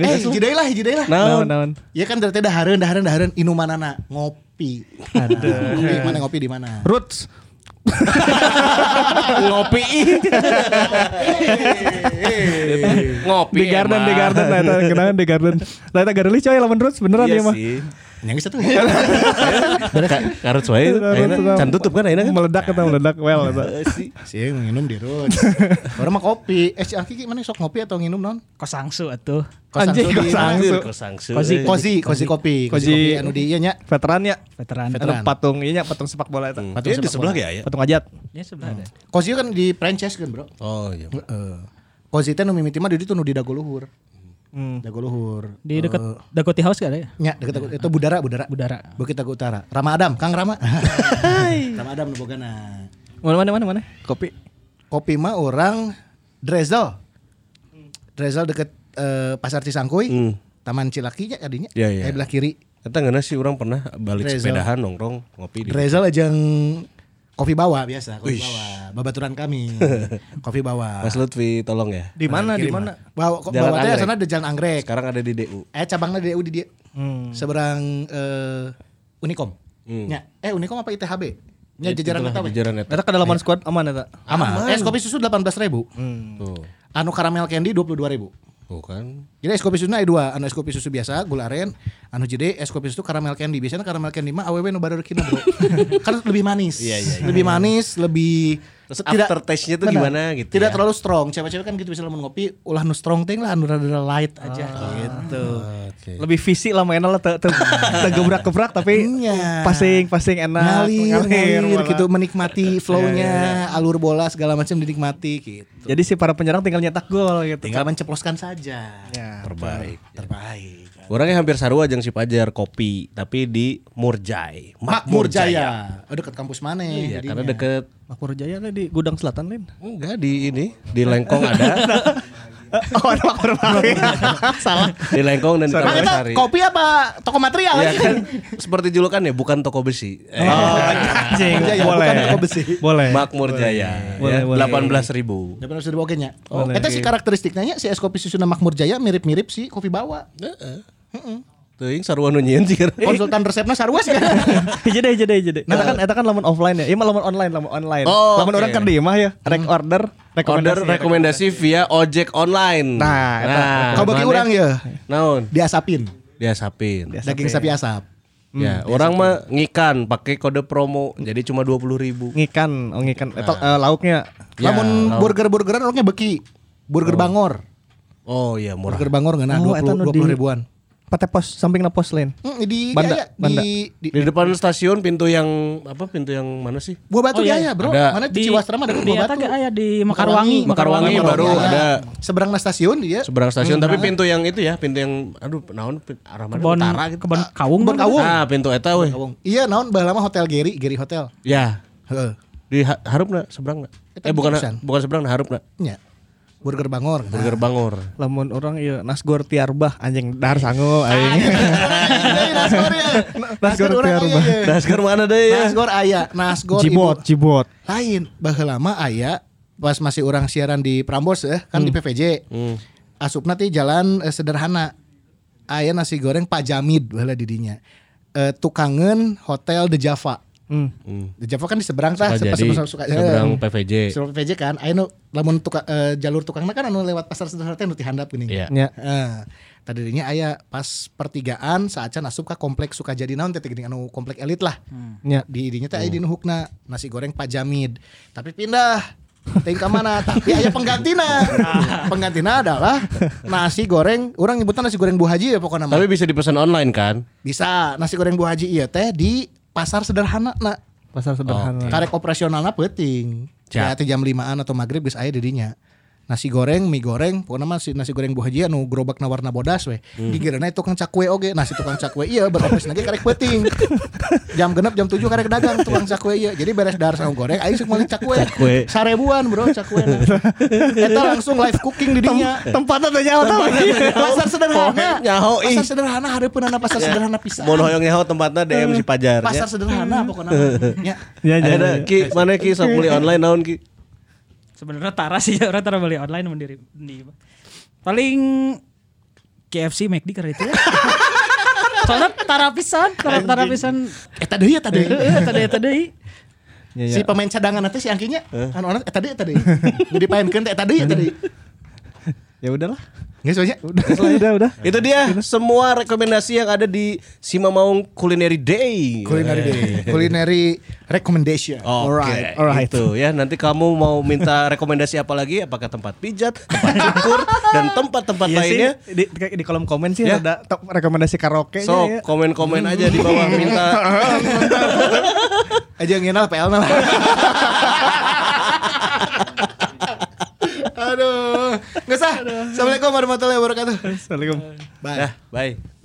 Eh, hiji deui lah, hiji deui lah.
Naon, naon.
Ya kan dari teh dahareun, dahareun, dahareun inumanana ngopi. Nah, Ngopi mana ngopi di mana?
Roots.
Ngopi. Ngopi.
Di garden, di garden, nah eta kenangan di garden. Lah eta garden coy lamun roots beneran
Iya
ya mah.
sih.
Yang Iya satu.
Karut wae ayeuna Eh, can tutup kan Eh, ayeuna kan?
Meledak eta meledak well eta.
Sih minum di run. Orang mah kopi. Eh si Aki mana sok ngopi atau nginum non?
Kosangsu atuh.
Sangsu di-
Anjing, Kosang.
Anjir,
Langsung.
kosangsu.
Kosi,
eh.
Kozi, kozi kopi. Kozi
Kozi.
kopi anu di ieu nya.
Veteran ya.
Veteran.
Anu
Veteran.
patung iya nya, patung sepak bola eta.
Iya, di sebelah ya ya.
Patung ajat.
Ya sebelah ada.
Kozi kan di Prancis kan, Bro.
Oh iya.
Heeh. Kozi teh nu mimiti mah di ditu nu di dago luhur.
Hmm.
Dago luhur.
Di dekat Dakota House gak ada ya?
Nya deket itu Budara, Budara.
Budara.
Bukit Dago Utara. Rama Adam, Kang Rama. Rama Adam nu bogana.
Mana mana mana mana?
Nah,
Kopi.
Kopi mah orang Drezel. Drezel deket eh, Pasar Cisangkuy.
Hmm.
Taman Cilaki nya tadinya.
Iya, iya.
Eh, belah kiri.
Eta ngeuna sih orang pernah balik
Reza.
sepedahan nongkrong ngopi di
Reza ajang kopi bawa biasa, kopi bawa. Babaturan kami. kopi bawa.
Ah. Mas Lutfi tolong ya.
Di mana? Di mana?
Bawa ko-
Jalan
bawa teh
Anggrek.
sana ada Jalan Anggrek.
Sekarang ada di DU.
Eh cabangnya di UDI dia. Seberang eh, Unikom. Nya, eh Unikom apa ITHB?
Hmm. Ya,
Nya jajaran
Itulah
eta we.
Jajaran eta.
Eta kada lawan squad aman ya, eta.
Aman. Eh, Es kopi susu 18.000.
Tuh.
Anu karamel candy 22.000.
Tuh kan.
Jadi es kopi susu ada dua, anu es kopi susu biasa, gula aren, anu jadi es kopi susu karamel candy. Biasanya karamel candy mah aww nu bareureukina, Bro. kan lebih manis.
Iya, iya, iya.
Lebih manis, lebih
Terus aftertaste-nya tuh gimana gitu ya.
Tidak terlalu strong. Cewek-cewek kan gitu bisa lamun ngopi, ulah nu strong ting lah, anu rada light aja gitu.
Oke.
Lebih visi lah mainnya lah teu teu teu gebrak-gebrak tapi
Iya.
pasing-pasing enak.
Ngalir, ngalir,
malah.
gitu
Iya,
menikmati flow-nya, alur bola segala macam dinikmati gitu.
Jadi si para penyerang tinggal nyetak gol gitu.
Tinggal menceploskan saja.
Terbaik.
Terbaik.
Orangnya hampir sarua jeung si Pajar kopi, tapi di Murjai.
Makmur Jaya. Oh, dekat kampus mana?
Iya,
jadinya.
karena deket
Makmur Jaya lah di Gudang Selatan Lin.
enggak di ini, di Lengkong ada,
oh, ada Makmur Salah.
di Lengkong dan di
Emang
Taman
itu
Sari.
kopi apa toko material
Iya
aja?
kan? Seperti julukan ya, bukan toko besi. Eh,
Anjing,
Makmur Jaya,
boleh.
bukan toko besi.
Boleh.
Makmur Jaya,
Boleh, boleh.
ya. delapan belas ribu.
Dapat harus dibawa kayaknya. Oh, Eta si karakteristiknya nya, si es kopi susu Makmur Jaya mirip-mirip si kopi bawa.
Tuh, yang sarua nu nyieun sih.
Konsultan resepnya sarua sih kan.
Jadi deh, jadi jadi. Eta kan eta kan lamun offline ya. Ieu mah lamun online, lamun online.
Oh,
lamun
oke.
orang kan di imah ya, rek order, iya,
Order
rekomendasi.
rekomendasi via ojek online.
Nah, eta.
Ah,
Kau bagi
mana-
orang ya,
Naon?
diasapin.
Dia sapin.
Daging sapi asap. Hmm,
Ya, orang mah ngikan pakai kode promo, jadi cuma dua puluh ribu.
Ngikan, oh ngikan. Eta eh, lauknya.
Ya,
Lamun burger-burgeran orangnya beki. Burger Bangor.
Oh iya murah.
Burger Bangor ngeunah
Oh,
20
eta nu di-
20 ribuan.
Pate pos, sampingna pos lain.
Hmm, di
Banda,
Jaya,
Banda.
di, di
Di depan stasiun pintu yang apa pintu yang mana sih?
Buah Batu
Oh, iya.
Jaya, Bro.
Ada.
Mana di Ciwastra mah ada
di
Buah
eta
Batu.
ge aya di Mekarwangi,
Mekarwangi baru
Iya.
ada.
Seberang na stasiun iya. dia.
Seberang
Hmm.
stasiun tapi pintu yang itu ya, pintu yang aduh naon pin- arah mana
Kebon
utara gitu.
Kebon Kawung.
Kebon
kan?
Kawung.
Ah, pintu eta weh.
Kawung. Iya, naon baheula mah Hotel Geri, Geri Hotel.
Ya.
Heeh.
Di ha- harupna seberang na.
Eta
Eh bukan
bagusan.
bukan seberang na harupna.
Nya. Burger Bangor. Nah.
Burger Bangor.
Lamun orang ieu Nasgor Tiarbah anjing dahar sangu aing.
Ay, Nasgor ya.
Nasgor
orang
tiar
aya
bah.
ya.
Naskar mana deh ya?
Nasgor aya, Nasgor
Cibot,
itu
Cibot.
lain. Baheula mah aya pas masih orang siaran di Prambors eh, kan
Hmm.
di PVJ. Asupna teh jalan eh, sederhana. Aya nasi goreng Pak Jamid baheula di dinya. Eh, tukangen Hotel The Java.
Hmm.
The Java kan di seberang tah,
Suka jadi
seberang- suka- eh,
seberang PVJ.
Seberang PVJ kan, aya nu lamun tuka, eh, jalur tukangna kan anu lewat pasar sederhana teh nu dihandap geuning.
Iya.
Ya.
Eh, tadinya aya pas pertigaan saacan asup ka kompleks Sukajadi naon teh geuning anu komplek elit lah.
Ya.
Di dinya teh aya di nuhukna nasi goreng Pak Jamid. Tapi pindah Ting ka mana? Tapi aya penggantina. penggantina adalah nasi goreng, orang nyebutnya nasi goreng Bu Haji ya pokoknya mah.
Tapi bisa dipesan online kan?
Bisa nasi goreng Bu Haji iya teh di pasar sederhana na
pasar sederhana.
Karek operasionalnya penting. Ya, teh jam limaan atau maghrib geus aya didinya. Nasi goreng, mie goreng, pokoknya mah si nasi goreng Bu Haji anu gerobakna warna bodas we.
Hmm.
Gigirna itu tukang cakwe oge, nasi tukang cakwe iya beroperasi lagi karek penting. jam genep jam 7 karek dagang tukang cakwe iya. Jadi beres dahar sama goreng, aing sok meuli cakwe.
Cakwe.
Sarebuan bro cakwe. Eta langsung live cooking di dinya.
Tempatnya teh nyawa tahu.
Pasar sederhana.
Pohe nyaho, ih. Ya.
Pasar sederhana hareupeun anak pasar sederhana pisan.
Mohon hoyong nyaho tempatnya DM si Pajar.
Hmm. Pasar sederhana pokoknya. mah. Nya.
Ya
Ya, Ada
ya.
ki mana ki sok beli online naon ki?
Sebenarnya Tara sih orang Tara beli online mendiri di paling KFC McD karena itu ya. Soalnya Tara pisan, Tara Tara pisan.
Eta deui eta deui.
Eh, Tadi tadi
Ya,
Si
ya.
pemain cadangan nanti si angkinya anu orang eta deui eta deui. Jadi paenkeun teh eta deui eta deui.
Ya udahlah.
Geus we nya.
Iya. Udah udah.
Itu dia semua rekomendasi yang ada di Sima Maung Culinary Day.
Culinary day. Culinary recommendation.
Oke,
Alright.
alright.
Itu ya nanti kamu mau minta rekomendasi apa lagi? Apakah tempat pijat, tempat cukur, dan tempat-tempat
Iya sih,
lainnya?
di, di- di kolom komen sih
Ya.
ada top rekomendasi ya. karaoke
So komen-komen aja di bawah minta.
Aja Eh, ngenal PL lah. Aduh, nggak usah. Assalamualaikum warahmatullahi wabarakatuh.
Assalamualaikum.
Bye.
Dah, Ya, bye.